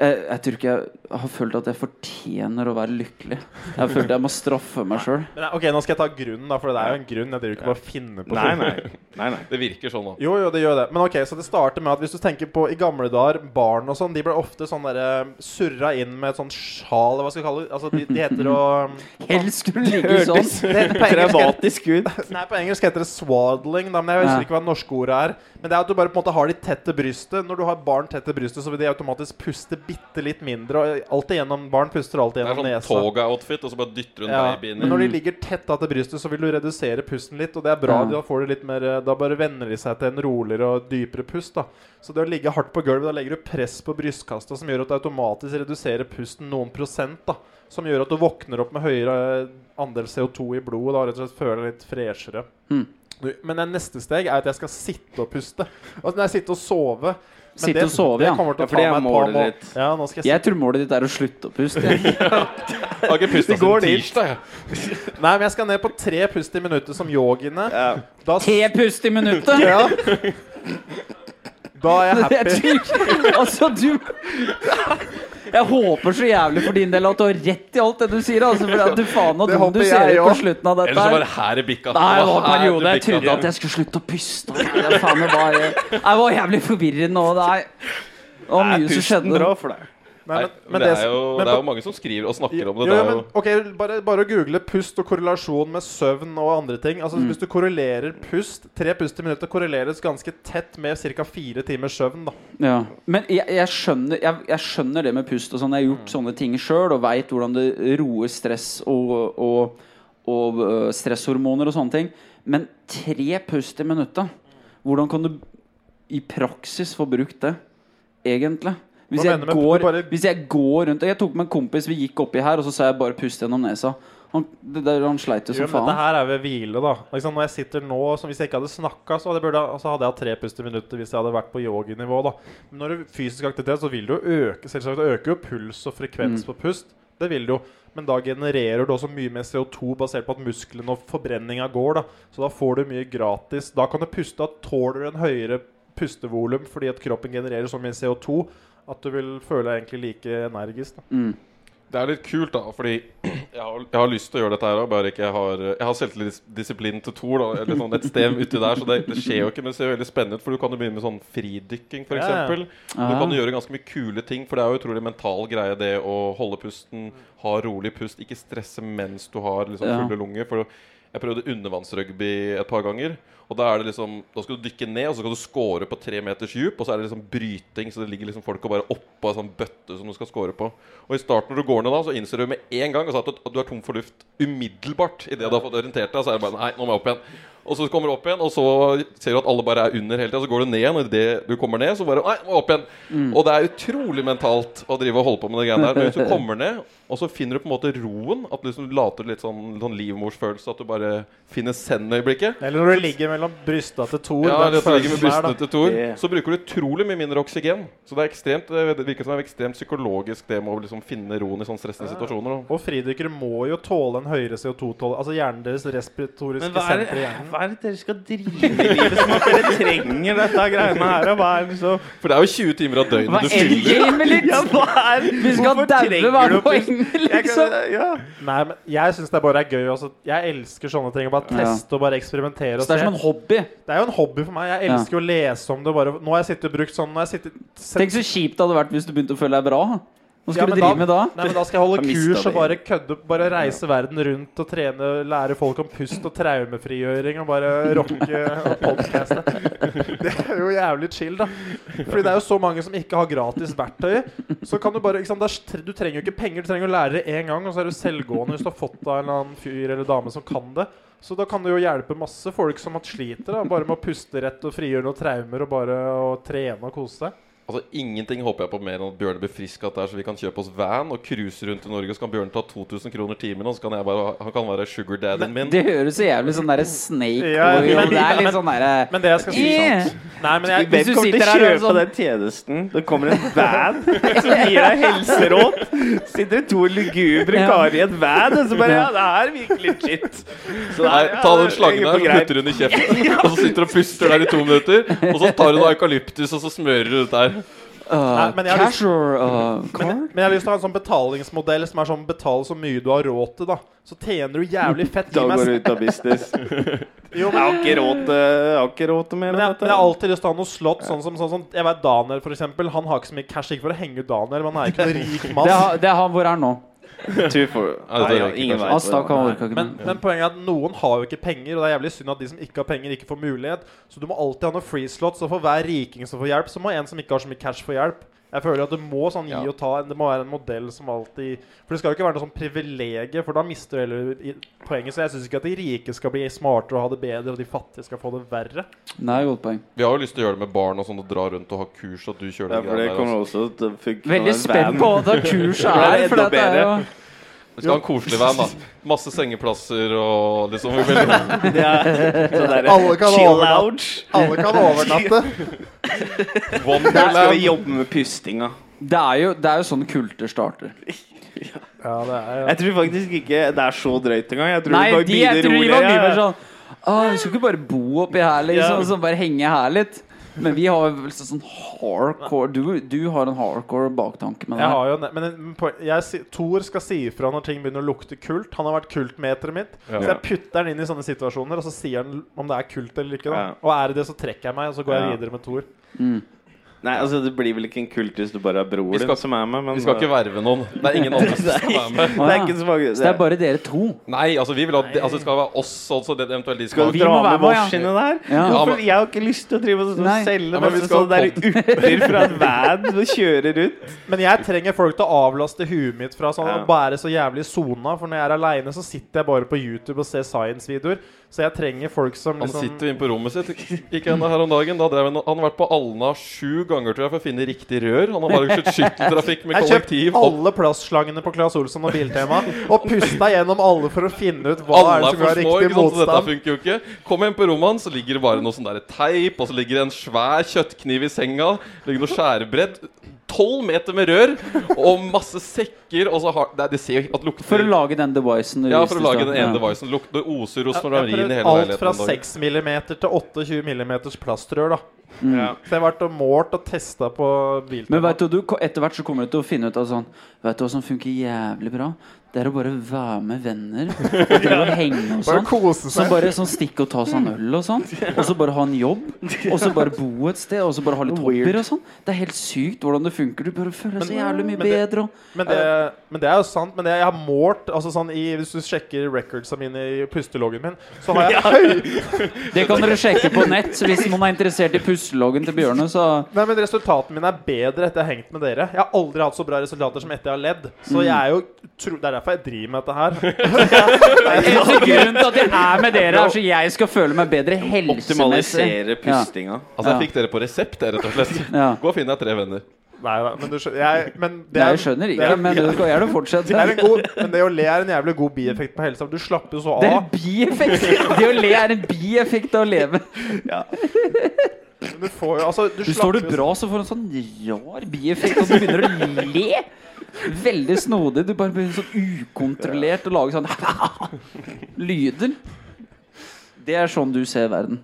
S2: eh, Jeg tror ikke jeg har følt at jeg fortjener å være lykkelig. Jeg har følt at jeg må straffe meg sjøl.
S3: Men, eh, ok, nå skal jeg ta grunnen, da, for det er jo en grunn. Jeg driver ikke bare og finner på
S1: Nei,
S3: ting.
S1: nei. nei, nei.
S4: Det virker sånn, da.
S3: Jo, jo, det gjør det. Men ok, så det starter med at hvis du tenker på i gamle dager, barn og sånn, de ble ofte sånn derre surra inn med et sånt sjal, eller hva skal jeg kalle det? Altså, de, de heter å
S2: Helst skulle du ligge sånn.
S1: Hørtes
S3: det heter på engelsk,
S1: traumatisk ut.
S3: Nei, på engelsk heter det swaddling, da, men jeg husker
S2: Ja.
S3: ikke hva det norske ordet er. Men det er at du bare på en måte har de tett til brystet. Når du har barn tett til brystet, så vil de automatisk puste bitte litt mindre. Og alltid gjennom Barn puster alltid
S4: Det er
S3: gjennom
S4: sånn
S3: nesa.
S4: toga-outfit, og så bare dytter hun
S3: Ja,
S4: baby inn
S3: men
S4: i
S3: når de ligger tett da til brystet, så vil du redusere pusten litt. Og det er bra,
S2: Ja.
S3: da får du litt mer Da bare venner de seg til en roligere og dypere pust. da Så det å ligge hardt på gulvet, da legger du press på brystkassa som gjør at du automatisk reduserer pusten noen prosent. da Som gjør at du våkner opp med høyere andel CO2 i blodet da, og rett og slett føler deg litt freshere.
S2: Mm.
S3: Du, men det neste steg er at jeg skal sitte og puste. Altså nei, sitte og sove. Men
S2: Sitte
S3: det-
S2: og sove, ja.
S3: Det kommer til
S1: Ja,
S3: å
S1: for
S3: ta
S1: det er
S3: meg et par
S1: målet
S3: måneder.
S1: ditt.
S3: Ja, nå skal jeg
S2: Jeg tror målet ditt er å slutte å puste. jeg.
S4: Har ikke pusta
S1: går
S4: siden
S1: dit.
S4: tirsdag, jeg.
S3: sitte Nei, men jeg skal ned på tre pust i minuttet som yogiene.
S1: Ja.
S3: Da
S2: Tre pust i minuttet!
S3: Ja. Da er jeg
S2: Jeg
S3: happy.
S2: tror- Altså, du Jeg håper så jævlig for din del at du har rett i alt det du sier. Altså, for at du faen og
S3: Det
S2: dum du
S3: håper
S2: ser
S3: jeg
S2: ut på
S3: også.
S2: slutten av dette.
S4: Ellers
S2: her.
S4: så bare her i bikka.
S2: Nei, det var
S4: her
S2: en periode jeg
S4: bikka.
S2: trodde at jeg skulle slutte å puste. Nei, det, faen, det, var, det var jævlig forvirrende. Og nei. Det var
S1: Er
S2: mye som
S1: pusten
S2: skjedde.
S1: bra for deg?
S3: Nei,
S4: Nei, men det, er jo,
S3: men
S4: det er jo
S3: på-
S4: mange som skriver og snakker om
S3: jo,
S4: det. det
S3: jo,
S4: er jo,
S3: men, ok, bare, bare å google pust og korrelasjon med søvn og andre ting. Altså Hvis du korrelerer pust Tre pust i minuttet korreleres ganske tett med ca. fire timers søvn. da
S2: Ja. Men jeg, jeg, skjønner, jeg, jeg skjønner det med pust og sånn. Jeg har gjort sånne ting sjøl og veit hvordan det roer stress og, og, og øh, stresshormoner og sånne ting. Men tre pust i minuttet Hvordan kan du i praksis få brukt det, egentlig. Hvis
S3: Hva
S2: jeg,
S3: mener du med-
S2: går,
S3: du bare-
S2: hvis jeg går rundt Jeg tok med en kompis, vi gikk oppi her, og så sa jeg bare 'pust gjennom nesa'. Han, det der, han sleit jo
S3: Jo,
S2: som
S3: men dette
S2: faen.
S3: her er ved hvile, da. Liksom, når jeg sitter nå, som hvis jeg ikke hadde snakka, så hadde jeg, burde, så hadde jeg hatt tre pust i minuttet hvis jeg hadde vært på yoginivå. da Men når du har fysisk aktivitet, så vil du jo øke Selvsagt øker jo puls og
S2: Mm.
S3: frekvens på pust. Det vil du jo. Men da genererer du også mye mer CO2 basert på at musklene og forbrenninga går. da Så da får du mye gratis. Da kan du puste. Da tåler du en høyere pustevolum fordi at kroppen genererer så mye CO2 at du vil føle deg egentlig like energisk. da
S4: Det er litt kult, da, fordi [CLEARS THROAT] jeg har, jeg har lyst til å gjøre dette her, og bare ikke jeg har Jeg har selvtillitsdisiplin til Thor, da, eller sånn et sted uti der, så det, det skjer jo ikke, men det ser jo veldig spennende ut, for du kan jo begynne med sånn fridykking,
S3: Ja,
S4: f.eks.
S3: ja.
S4: eksempel Du kan jo gjøre ganske mye kule ting, for det er jo utrolig mental greie, det å holde pusten, ha rolig pust, ikke stresse mens du har liksom
S2: Ja.
S4: fulle lunger. For jeg prøvde undervannsrugby et par ganger. Og Da er det liksom Da skal du dykke ned, og så skal du score på tre meters dyp. Og så er det liksom bryting, så det ligger liksom folk og bare oppå ei sånn bøtte som du skal score på. Og I starten når du går ned da, så innser du med en gang altså, at du- at du er tom for luft umiddelbart. Idet du har fått orientert deg, så er det bare Nei, nå må jeg opp igjen. Og så kommer du opp igjen, og så ser du at alle bare er under hele tida. Så går du ned igjen, og idet du kommer ned, så bare Nei, må jeg opp igjen. Og det er utrolig mentalt å drive og holde på med det greiene der. Men hvis du kommer ned, og så finner du på en måte roen, at du liksom later litt sånn, sånn livmorsfølelse, at du bare finner zen-øyeblikket.
S3: Eller når du ligger mellom brysta til Thor.
S4: Ja,
S3: den
S4: det ligger med
S3: følelsen der, da.
S4: brystene til Thor.
S1: Det-
S4: Så bruker du utrolig mye mindre oksygen. Så det er ekstremt eh, Det virker som det er ekstremt psykologisk, det med å liksom finne roen i sånne stressende situasjoner. da.
S3: Og fridykkere må jo tåle en høyere CO2-tåle. Altså hjernen deres respiratoriske
S1: Men hva er,
S3: senter i
S1: det,
S3: hjernen.
S1: hva er det dere skal drive med i livet som at dere trenger dette greiene her? og Hva er det så
S4: For det er jo 20 timer av
S1: Hva
S4: døgnet du
S1: er
S4: [LAUGHS] fyller.
S2: Game, litt!
S1: Ja, hva er
S2: liksom? Vi skal
S1: hvorfor
S2: daue
S1: trenger
S2: hver
S1: du å puste?
S2: poeng,
S1: Jeg
S2: liksom!
S1: kan, ja.
S3: Nei, men jeg syns det bare er gøy. Altså. Jeg elsker sånne ting. å Bare
S2: Ja.
S3: teste og bare eksperimentere. Og
S2: Så det er som en
S3: se.
S2: hobby.
S3: det er jo en hobby for meg. Jeg elsker å lese om det. og Bare. Nå har jeg sittet og brukt sånn Nå har jeg sittet sett-
S2: Tenk så kjipt det hadde vært hvis du begynte å føle deg bra. Hva
S3: Ja,
S2: skulle
S3: men
S2: du drive med da?
S3: Nei, men da skal jeg holde
S1: Jeg mistet
S3: kurs og
S1: det.
S3: bare kødde Bare reise verden rundt og trene, lære folk om pust og traumefrigjøring og bare rocke og podcaste. [LAUGHS] Det er jo jævlig chill, da. Fordi det er jo så mange som ikke har gratis verktøy. Så kan du bare ikke sant, det er- Du trenger jo ikke penger, du trenger å lære det én gang, og så er du selvgående hvis du har fått av en eller annen fyr eller dame som kan det. Så da kan du jo hjelpe masse folk som sliter, da bare med å puste rett og frigjøre noen traumer og bare å trene og kose seg.
S4: Altså Ingenting håper jeg på mer enn at Bjørne blir frisk at det er så vi kan kjøpe oss van og cruise rundt i Norge. Så kan Bjørne ta 2000 kroner timen, og så kan jeg bare Han kan være sugar dadden min.
S2: Det høres så jævlig sånn derre snake
S3: Ja,
S2: boy
S3: men-
S2: ut. Det er litt sånn eh, derre
S3: Men det jeg skal si
S2: Yeah.
S3: Nei, men jeg,
S2: Hvis
S1: Hvem
S2: du
S1: kommer til
S2: sitter
S1: å
S2: her og
S1: kjøpe
S2: sånn-
S1: den tjenesten? Det kommer en van som gir deg helseråd. Sitter det to lugubre
S2: Ja.
S1: karer i en van, og så bare Ja, det her virker litt shit. Så det
S4: Nei,
S1: er-
S4: ta
S1: ja,
S4: den
S1: det
S4: slangen
S1: er
S4: der, så putter du den i kjeften,
S1: [LAUGHS]
S4: og så sitter du og puster der i to minutter. Og så tar du noe eukalyptus, og så smører du det der.
S2: uh,
S3: Nei, men jeg har lyst-
S2: Cash or uh, car?
S3: Men, men jeg har lyst til å ha en sånn betalingsmodell som er sånn betal så mye du har råd til, da. Så tjener du jævlig fett.
S1: Da
S3: Gi meg
S1: går
S3: s-
S1: du ut av business.
S3: Jo,
S1: Jeg har ikke råd til- jeg har ikke råd til mer
S3: men jeg,
S1: enn
S3: men jeg har
S1: dette.
S3: alltid lyst til å ha noe slått, sånn som sånn, sånn, Jeg vet Daniel, for eksempel. Han har ikke så mye cash, ikke for å henge ut Daniel, men han er ikke noen rik
S2: Det, er,
S3: mann.
S2: ha- det er han hvor er han nå.
S1: Two for-
S4: Nei, det er
S1: Nei,
S4: ikke
S1: ingen
S4: kanskje.
S1: vei
S2: Han
S1: på
S2: stakk, han
S1: det.
S2: orka ikke
S3: Men,
S2: noe.
S3: men poenget er at noen har jo ikke penger, og det er jævlig synd at de som ikke har penger, ikke får mulighet. Så du må alltid ha noe free slot, så for hver riking som får hjelp, så må en som ikke har så mye cash, få hjelp. Jeg føler at du må sånn gi
S4: Ja.
S3: og ta. Det må være en modell som alltid For det skal jo ikke være noe sånn privilegium, for da mister du heller i- poenget. Så jeg syns ikke at de rike skal bli smartere og ha det bedre, og de fattige skal få det verre.
S2: Det er et godt poeng.
S4: Vi har jo lyst til å gjøre det med barn og sånn, og dra rundt og ha kurs, og at du kjører
S1: Ja,
S4: de
S1: for
S4: greiene
S1: det
S4: der
S1: kommer
S4: også.
S1: også til å funke.
S2: Veldig
S1: når
S2: spent
S1: van-
S2: på hva det
S1: [LAUGHS]
S2: kurset
S1: Det er
S2: er. For
S1: enda
S2: dette er jo
S4: Vi skal ha en koselig van, da. Masse sengeplasser og liksom vi vil-
S1: Det [LAUGHS] er sånn derre
S3: Alle kan
S1: chill
S3: overnatte.
S1: lounge.
S3: Alle kan overnatte.
S1: Der skal vi
S4: Wonderland.
S1: jobbe med pustinga.
S2: Det er jo, det er jo sånn kulter starter.
S3: ja, det er
S1: Jeg tror faktisk ikke det er så drøyt engang. Jeg tror
S2: Nei,
S1: det bare
S2: de, jeg
S1: begynner
S2: tror de var mye mer
S1: roligere.
S2: sånn Å, vi skal ikke bare bo oppi her, liksom.
S1: Ja.
S2: Så bare henge her litt. Men vi har vel så- sånn hardcore Du, du har en hardcore baktanke med det.
S3: Jeg
S2: her.
S3: har jo ne- Men en- poen- jeg, si- Thor skal si ifra når ting begynner å lukte kult. Han har vært kultmeteret mitt.
S4: Ja.
S3: Så jeg putter han inn i sånne situasjoner, og så sier han om det er kult eller ikke. Da.
S1: Ja.
S3: Og er det det, så trekker jeg meg, og så går
S1: Ja.
S3: jeg videre med Thor.
S1: Nei, altså det blir vel ikke en kult hvis du bare har bror
S4: Vi skal-
S1: din som er med, men eh,
S4: Vi skal ikke verve noen. Det er ingen andre
S1: [LAUGHS]
S4: som skal være med.
S1: Det er ikke så mange
S2: Så det er bare dere to?
S4: Nei, altså vi vil at altså, det skal være oss altså, det, eventuelt de som
S1: Skal
S4: har
S1: du
S2: Vi
S1: dra
S2: må være
S1: med
S2: med, ja.
S1: vårs inni der?
S2: Ja.
S1: Hvorfor- Jeg har ikke lyst til å drive og sånn
S2: Nei.
S1: selge
S4: Ja, men vi
S1: masse
S4: skal
S1: sånne der urter fra en van og kjøre
S2: [LAUGHS]
S1: rundt.
S3: Men jeg trenger folk til å avlaste huet mitt fra sånn
S1: Ja.
S3: å bære så jævlig sona. For når jeg er aleine, så sitter jeg bare på YouTube og ser science-videoer. Så jeg trenger folk som
S4: Han
S3: liksom
S4: sitter jo inne på rommet sitt. Gikk han her om dagen Da drev han Han har vært på Alna sju ganger tror jeg for å finne riktig rør. Han har bare kjørt skytteltrafikk med
S3: Jeg
S4: kollektiv.
S3: kjøpte
S4: Opp.
S3: alle plastslangene på Claes Olsson og Biltema og pusta gjennom alle for å finne ut hva er
S4: Alle
S3: det
S4: er
S3: som
S4: for
S3: har
S4: små, ikke
S3: riktig
S4: sant? så dette
S3: motstand.
S4: funker jo ikke. Kom hjem på rommet hans, så ligger det bare noe sånn der teip, og så ligger det en svær kjøttkniv i senga, ligger noe skjærebrett, tolv meter med rør og masse sekker, og så har Nei, det ser jo at lukter
S2: For å lage den devicen? du
S4: Ja,
S2: viste
S4: for å
S2: i
S4: lage
S2: starten,
S4: den
S2: ja.
S4: ene devicen. Lukter oser rosmarin i hele
S3: Alt fra
S4: om dagen.
S3: 6 mm til 28 mm plastrør, da.
S1: Ja.
S3: Så jeg har vært og målt og testa på
S2: Mm. Men
S3: Biltema.
S2: vet du, du, ko- etter hvert så kommer du til å finne ut av sånn Vet du hva som funker jævlig bra? Det er å bare være med venner. Og
S4: [LAUGHS]
S2: drive og henge og
S3: Bare
S2: sånn.
S3: kose
S2: Så
S3: seg.
S2: bare sånn stikke og ta seg en øl og sånn.
S4: [LAUGHS]
S2: Og så bare ha en jobb. Og så bare bo et sted. Og så bare ha litt hobbyer og sånn. Det er helt sykt hvordan det funker. Du bare føler deg så jævlig mye
S3: men det-
S4: [LAUGHS]
S2: bedre. Og,
S3: Men det, men det er jo sant. Men det jeg har målt altså sånn i, Hvis du sjekker recordsa mine i pusteloggen min, så har
S4: [LAUGHS]
S3: jeg høy
S2: det kan dere sjekke på nett. Så hvis noen er interessert i pusseloggen til Bjørne, så
S3: Nei, men Resultatene mine er bedre etter jeg har hengt med dere. Jeg har aldri hatt så bra resultater som etter jeg har ledd.
S2: Mm.
S3: Så jeg er jo tro, Det er derfor jeg driver med dette
S4: [LAUGHS]
S3: her.
S2: Eneste grunnen til at jeg er med dere, er så jeg skal føle meg bedre helsemessig.
S1: Optimalisere pustinga.
S4: Altså, jeg
S2: Ja.
S4: fikk dere på resept, jeg, rett og slett.
S2: [LAUGHS] Ja.
S4: Gå og finn deg tre venner.
S3: Nei da, men du skjønner jeg, men det
S2: Nei,
S3: er-
S2: jeg skjønner
S3: det
S2: ikke,
S3: er-
S2: men du kan gjerne
S3: Det er
S2: fortsette.
S3: en god, men det å le er en jævlig god bieffekt på helsa. for Du slapper jo så
S2: Det er en
S3: av.
S2: bieffekt. Det å le er en bieffekt av å leve.
S3: Men du får jo, altså, du
S2: Du står
S3: slapper
S2: du
S3: jo-
S2: bra, så får du en sånn rar bieffekt, og du begynner å le. Veldig snodig. Du bare blir sånn ukontrollert og lager sånn [LAUGHS] lyder. Det er sånn du ser verden.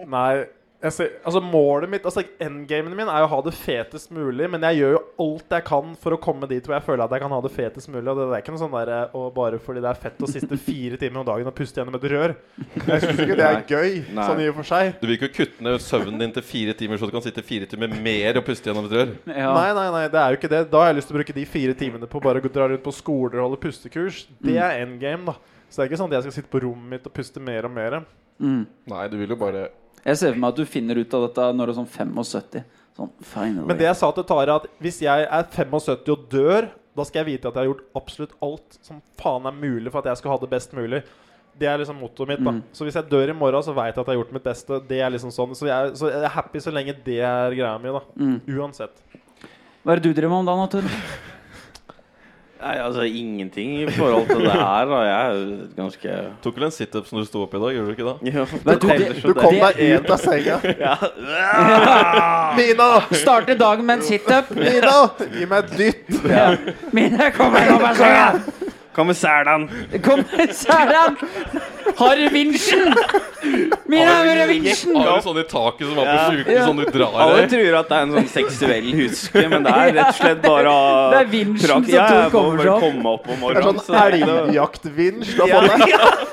S3: Nei, jeg ser, altså målet mitt Altså Endgamen min er jo å ha det fetest mulig, men jeg gjør jo alt jeg kan for å komme dit hvor jeg føler at jeg kan ha det fetest mulig. Og det er ikke noe sånn der, eh, og bare fordi det er fett å siste fire timer om dagen og puste gjennom et rør. Jeg syns ikke det er gøy,
S1: Nei.
S3: sånn i og for seg.
S4: Du vil ikke kutte ned søvnen din til fire timer, så du kan sitte fire timer mer og puste gjennom et rør.
S2: Ja.
S3: Nei, nei, nei, det er jo ikke det. Da har jeg lyst til å bruke de fire timene på bare å gå- dra rundt på skoler og holde pustekurs. Det
S1: Mm.
S3: er endgame, da. Så det er ikke sånn at jeg skal sitte på rommet mitt og puste mer og mer.
S2: Mm.
S4: Nei, du vil jo bare
S2: Jeg ser for meg at du finner ut av dette når du er sånn 75. Sånn
S3: Men det
S2: finally.
S3: jeg sa til Tara, at hvis jeg er 75 og dør, da skal jeg vite at jeg har gjort absolutt alt som faen er mulig for at jeg skal ha det best mulig. Det er liksom mottoet mitt. da
S2: Mm.
S3: Så hvis jeg dør i morgen, så veit jeg at jeg har gjort mitt beste. Det er liksom sånn Så jeg, så jeg er happy så lenge det er greia mi, da.
S2: Mm.
S3: Uansett.
S2: Hva er det du driver med om dagen, Tor?
S1: Nei, altså ingenting i forhold til det her. Da. Jeg er jo ganske
S4: Tok vel en situps når du sto opp i dag, gjorde du ikke det?
S1: ja,
S2: du,
S1: teller
S2: det-
S1: som det.
S3: deg ut av senga.
S1: ja.
S3: [LAUGHS]
S1: Ah!
S2: [LAUGHS]
S3: Mina!
S2: Starte dagen med en situp.
S3: Mina! Gi meg et dytt!
S2: Ja. Mine, kom her, kom her, kom her.
S1: Kom med selan!
S2: sånn, Kom, Særan! Harry Vincen! Min er Harry Vincen!
S4: Har du sånn i taket som var på sjukehuset,
S2: Ja.
S4: sånn du drar
S1: Alle
S4: i?
S1: tror at det er en sånn seksuell huske, men det er rett og
S2: [LAUGHS]
S1: slett bare å-
S2: Det er vinsjen
S1: Prakt- Ja, jeg må
S2: som Tor kommer
S1: bare
S2: fra.
S1: komme opp om morgenen. så-
S3: sånn elgjaktvinsj. da,
S1: Ja.
S3: faen.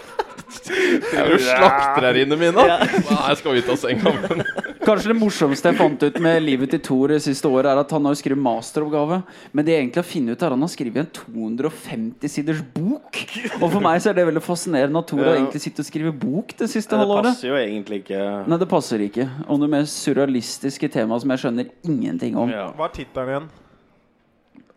S4: Er du slakter her inne, Mina? Nei, jeg skal ut av senga. [LAUGHS] Men
S2: Kanskje det morsomste jeg fant ut med livet til Thor det siste året, er at han har jo skrevet masteroppgave. Men det jeg egentlig har funnet ut, er at han har skrevet en 250-siders bok. Og for meg så er det veldig fascinerende at Thor har
S1: Ja.
S2: egentlig sittet og skrevet bok det siste
S1: Det
S2: halvåret.
S1: passer jo egentlig ikke.
S2: Nei, det passer ikke. Om det mer surrealistiske temaet som jeg skjønner ingenting om.
S1: Ja. Eh,
S3: Hva er tittelen igjen?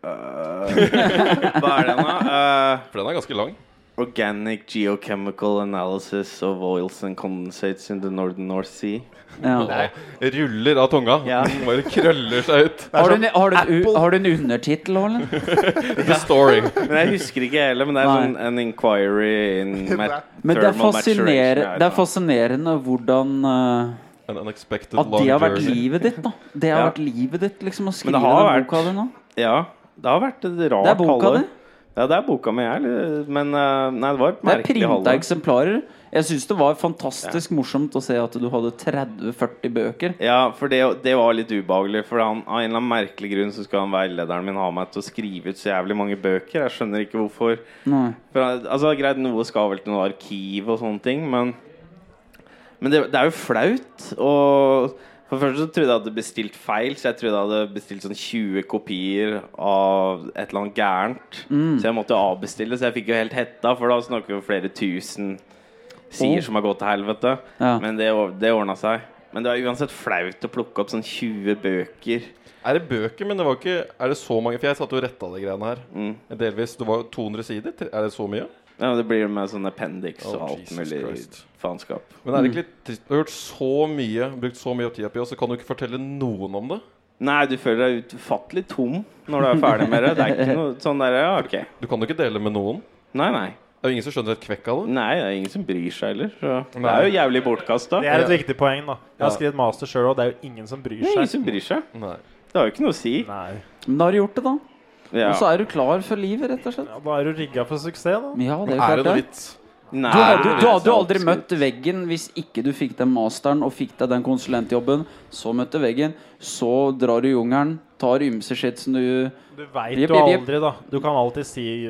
S1: Hva er det nå? Eh,
S4: For den er ganske lang.
S1: organic geochemical analysis of oils and condensates in the northern North Sea.
S2: Ja.
S4: Det ruller av tunga.
S1: Ja.
S4: Den [LAUGHS] bare krøller seg ut.
S2: Har du en, har du en, u- har du en undertittel òg, eller?
S4: The story.
S1: Men jeg husker ikke heller, men det er
S2: Nei.
S1: sånn an inquiry in ma-
S2: Men det er,
S1: thermal maturation,
S2: fasciner-
S1: jeg vet
S2: det er
S1: da.
S2: fascinerende hvordan eh,
S4: An unexpected
S2: At
S4: long
S2: det har vært
S4: journey.
S2: livet ditt, da. Det har
S1: Ja.
S2: vært livet ditt, liksom, å
S1: Men det
S2: skrive den
S1: har vært-
S2: boka di nå.
S1: Ja, det har vært et rart
S2: Det er boka
S1: halvår.
S2: di.
S1: Ja, det er boka mi, jeg. eller- Men eh, nei, det var et
S2: Det er
S1: merkelig
S2: printa
S1: halvår.
S2: eksemplarer. Jeg syns det var fantastisk morsomt å se at du hadde 30-40 bøker.
S1: Ja, for det, det var litt ubehagelig. For han, av en eller annen merkelig grunn så skal han veilederen min ha meg til å skrive ut så jævlig mange bøker. Jeg skjønner ikke hvorfor.
S2: Nei.
S1: For, altså, greit, noe skal vel til noe arkiv og sånne ting, men Men det, det er jo flaut. Og For det første så trodde jeg at jeg hadde bestilt feil, så jeg trodde jeg hadde bestilt sånn 20 kopier av et eller annet gærent.
S4: Mm.
S1: Så jeg måtte avbestille, så jeg fikk jo helt hetta, for da snakker vi om flere tusen sider
S4: Oh.
S2: Åh.
S1: som har gått til helvete.
S2: Ja.
S1: Men det, or- det ordna seg. Men det var uansett flaut å plukke opp sånn 20 bøker.
S4: Er det bøker, men det var ikke Er det så mange? For jeg satt jo og retta de greiene her. Delvis. Det var jo 200 sider. Tre- Er det så mye?
S1: Mm. Ja, det blir med sånn appendix
S4: Oh,
S1: og alt
S4: Jesus
S1: mulig
S4: Christ.
S1: faenskap.
S4: Men
S2: Mm.
S4: er det ikke litt trist? Du har gjort så mye, brukt så mye tid på, og så kan du ikke fortelle noen om det?
S1: Nei, du føler deg utfattelig tom når du er ferdig med det. Det er ikke noe sånn der, ja, ok.
S4: Du kan jo ikke dele med noen.
S1: Nei, nei.
S4: Det er jo ingen som skjønner et kvekk av det.
S1: Nei, det er ingen som bryr seg heller. Så det
S4: Nei.
S1: er jo jævlig bortkasta.
S3: Det
S1: Det
S3: er et viktig poeng, da. Jeg har
S4: Ja.
S3: skrevet master sjøl, og det er jo ingen som bryr
S1: er ingen
S3: seg.
S1: som bryr
S2: Mm.
S1: seg.
S4: Nei.
S1: Det har jo ikke noe å si.
S3: Nei.
S2: Men da har du gjort det, da.
S1: Ja.
S2: Og så er du klar for livet, rett og slett.
S3: Ja, da er du rigga for suksess, da.
S2: Ja, det er jo
S4: Er
S2: klart
S4: det noe
S2: det.
S4: vits?
S1: Nei, sånn
S2: Du hadde, du hadde jo aldri
S1: absolutt.
S2: møtt veggen hvis ikke du fikk den masteren og fikk deg den konsulentjobben. Så møtte veggen, så drar du i jungelen, tar ymse shit som du
S3: Du veit
S2: Jep, jep,
S3: jo
S2: jep.
S3: aldri, da. Du kan alltid si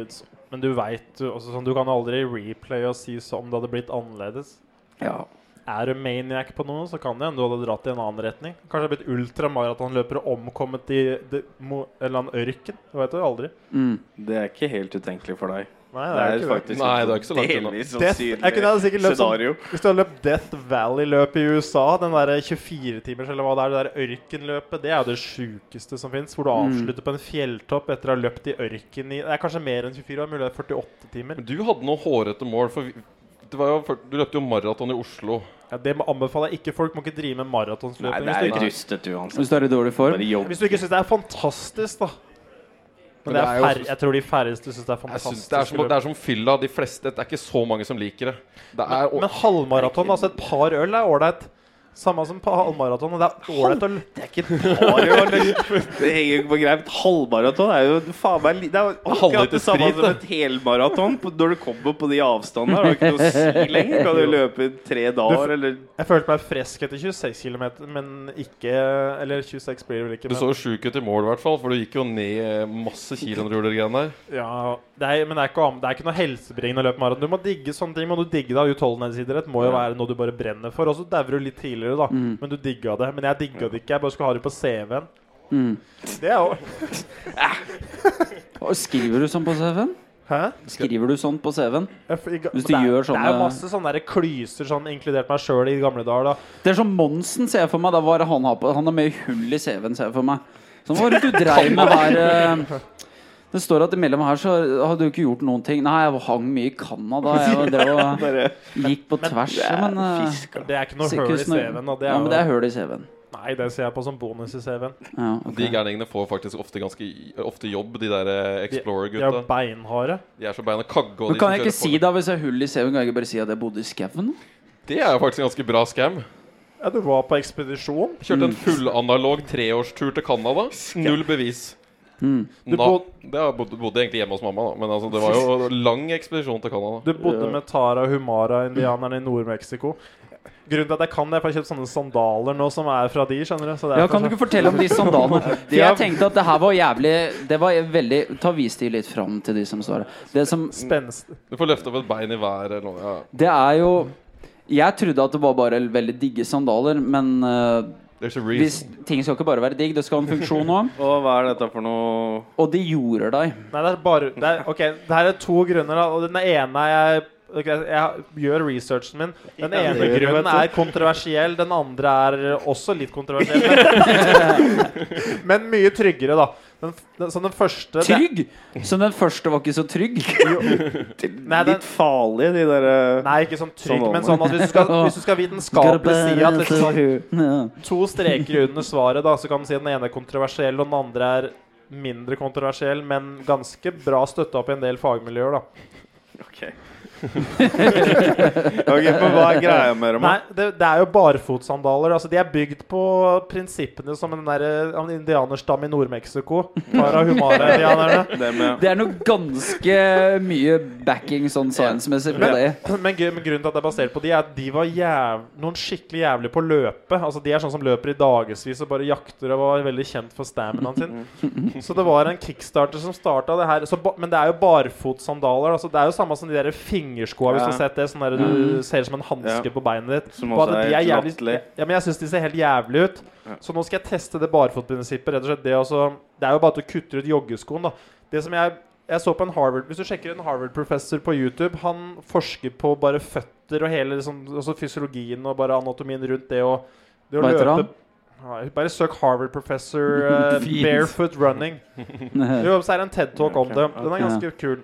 S3: Men du veit jo også sånn Du kan aldri replay og si som det hadde blitt annerledes.
S2: Ja.
S3: Er du maniac på noe, så kan det hende du hadde dratt i en annen retning. Kanskje det hadde blitt ultramaratonløper og omkommet i det, mo, en eller annen ørken. Det vet du aldri.
S2: Mm.
S1: Det er ikke helt utenkelig for deg.
S3: Nei,
S1: Det
S3: det er
S1: er
S3: jo ikke det.
S1: faktisk
S4: Nei, det er ikke så langt unna.
S1: delvis
S3: Death, jeg kunne ha sikkert
S1: sannsynlig
S3: løpt sånn,
S1: sånn scenario.
S3: hvis du hadde løpt Death Valley-løpet i USA, den der 24-timers eller hva det er, det der ørkenløpet, det er jo det sjukeste som fins.
S4: Mm.
S3: Hvor du avslutter på en fjelltopp etter å ha løpt i ørken i Det er kanskje mer enn 24, det er mulig det er 48 timer.
S4: Men du hadde noe hårete mål, for vi- det var jo, fyr- du løpte jo maraton i Oslo.
S3: Ja, det må- anbefaler jeg ikke. Folk må ikke drive med
S1: Nei, det
S3: maratonsløping. hvis
S1: er
S3: du ikke-
S1: rustet uansett.
S2: Hvis du er i dårlig form.
S1: Bare jobb.
S3: Hvis du ikke syns det er fantastisk, da. Men
S4: Men
S3: det
S4: det er
S3: er
S4: jo-
S3: fær jeg tror de færreste syns det er
S4: Jeg synes
S3: fantastisk.
S4: det, er som,
S3: å løpe.
S4: det er som fylla. De fleste Det er ikke så mange som liker det. Det er
S3: Men halvmaraton, altså et par øl, er ålreit. Samme som på halvmaraton. og Det er ålreit å l-
S1: Det er ikke et par øl, liksom. [LAUGHS] Det henger jo ikke på greip. Et halvmaraton er jo faen meg li- Det er jo akkurat
S4: Halvliter
S1: det samme
S4: sprit,
S1: som
S4: da.
S1: et helmaraton. på- Når du kommer på de avstandene, har du ikke noe å
S3: [LAUGHS]
S1: si lenger. Kan du løpe i tre dager, eller
S3: Jeg følte meg frisk etter 26 km, men ikke Eller 26 blir det vel ikke,
S4: Du
S3: men,
S4: så jo sjuk ut i mål, i hvert fall, for du gikk jo ned eh, masse kilo når du gjorde de greiene der.
S3: ja, det er, men det er ikke, an- det er ikke noe helsebringende å løpe maraton. Du må digge sånne ting. Må du digge det. Utholdenhetsidrett må jo være noe du bare brenner for. Og så dauer du litt tidligere, da. Men du digga det. Men jeg digga det ikke. Jeg bare skulle ha det på CV-en.
S2: Mm.
S3: Det er jo
S2: Og Skriver du sånn på CV-en?
S3: Hæ?
S2: Skriver du sånn på CV-en?
S3: Jeg f- jeg-
S2: Hvis
S3: men
S2: du
S3: det er-
S2: gjør sånne-
S3: Det er jo masse sånne der klyser, sånn inkludert meg sjøl i gamle dager, da.
S2: Det er som Monsen, ser jeg for meg. Da var det han, har på, han har mer hull i CV-en, ser jeg for meg. Sånn, hva var det du dreiv med her? eh? Det står at imellom her så har du ikke gjort noen ting. Nei, jeg hang mye i Canada. Jeg drev og
S1: bare
S2: gikk på tvers. Men, eh,
S1: fisk?
S3: Det er ikke noe hull i
S2: sykehusene-
S3: CV-en. og Det er
S2: Ja,
S3: jo,
S2: men det er hull i CV-en.
S3: Nei, det ser jeg på som bonus i CV-en.
S2: Ja, ok.
S4: De gærningene får faktisk ofte ganske ofte jobb, de der eh,
S3: De er jo
S4: Explorer-gutta.
S3: beinharde.
S4: De er så beina kagge. og
S2: Men kan
S4: de som
S2: jeg ikke
S4: kjører
S2: si
S4: Ford-
S2: da, hvis jeg har hull i CV-en, kan jeg ikke bare si at jeg bodde i skauen?
S4: Det er jo faktisk en ganske bra scam.
S3: Ja, du var på ekspedisjon.
S2: Mm.
S4: Kjørte en fullanalog treårstur til Canada. Null bevis.
S2: Mm.
S3: Du
S4: Da,
S3: bod-
S4: det har jeg bod- bodde egentlig hjemme hos mamma, da. Men altså,
S2: [LAUGHS]
S4: det var jo lang ekspedisjon til Canada.
S3: Du bodde med Tara Humara-indianerne i Nord-Mexico. Grunnen til at jeg kan det, er for jeg har kjøpt sånne sandaler nå som er fra de, skjønner du. Så det er
S2: Ja, kan du
S3: for- sånn
S2: ikke fortelle om de
S3: [LAUGHS]
S2: sandalene? For
S1: er-
S2: jeg tenkte at det her var jævlig Det var veldig Ta vis de litt fram til de som står her. Det som
S3: Spenst.
S4: Du får løfte opp et bein i været eller noe. Ja.
S2: Det er jo Jeg trodde at det var bare veldig digge sandaler, men eh,
S4: There's a
S2: hvis,
S4: reason.
S2: ting skal ikke bare være digg, det skal ha en funksjon
S3: [LAUGHS]
S2: òg.
S1: Og hva er dette for noe
S2: Og de gjorde deg.
S3: Nei, det er bare det er, Ok, det her er to grunner, da. Og den ene er jeg ok, jeg gjør researchen min. Den ene
S1: det gjør jeg, vet
S3: grunnen
S1: du.
S3: er kontroversiell. Den andre er også
S1: [LAUGHS]
S3: litt kontroversiell. Men, men mye tryggere, da. Den, f- den, så den første det-
S2: Trygg! Så den første var ikke så trygg.
S3: [LAUGHS] Nei, den-
S1: Litt farlig, de derre
S3: Nei, ikke sånn trygg,
S1: Sånn
S3: men sånn at hvis du skal, hvis du skal vitenskapelig si at liksom sånn, to streker under svaret, da, så kan du si at den ene er kontroversiell, og den andre er mindre kontroversiell, men ganske bra støtta opp i en del fagmiljøer, da.
S1: Ok. ok, men hva er greia med dem? da?
S3: Nei, det, det er jo barfotsandaler. Altså, de er bygd på prinsippene som en der, eh, en indianerstam i Nord-Mexico. Parahumara-indianerne.
S1: Det med
S2: Det er noe ganske mye backing sånn science-messig på det.
S3: Men gru- men grunnen til at det er basert på de, er at de var jæv, noen skikkelig jævlig på å løpe. Altså, de er sånn som løper i dagevis og bare jakter og var veldig kjent for staminaen sin. Så det var en kickstarter som starta det her. Så, ba- men det er jo barfotsandaler. Altså, det er jo samme som de der fingerskoa, hvis du
S1: Ja. Mm.
S3: har sett det. Sånn der du ser ut som en hanske
S1: Ja.
S3: på beinet ditt.
S1: Som
S3: På
S1: også
S3: at
S1: er
S3: de
S1: helt
S3: jævlig-
S1: latterlig.
S3: Ja, men jeg syns de ser helt jævlig ut. Så nå skal jeg teste det barfotprinsippet. Rett og slett det, altså, det er jo bare at du kutter ut joggeskoen, da. Det som jeg, jeg så på en Harvard Hvis du sjekker en Harvard-professor på YouTube, han forsker på bare føtter og hele liksom, altså fysiologien og bare anatomien rundt det og det å
S2: Hva heter han?
S3: Nei, Bare søk Harvard professor eh,
S2: [LAUGHS] Fint.
S3: barefoot running.
S2: [LAUGHS]
S3: Jo, så er det en TED-talk om det. Den er ganske kul.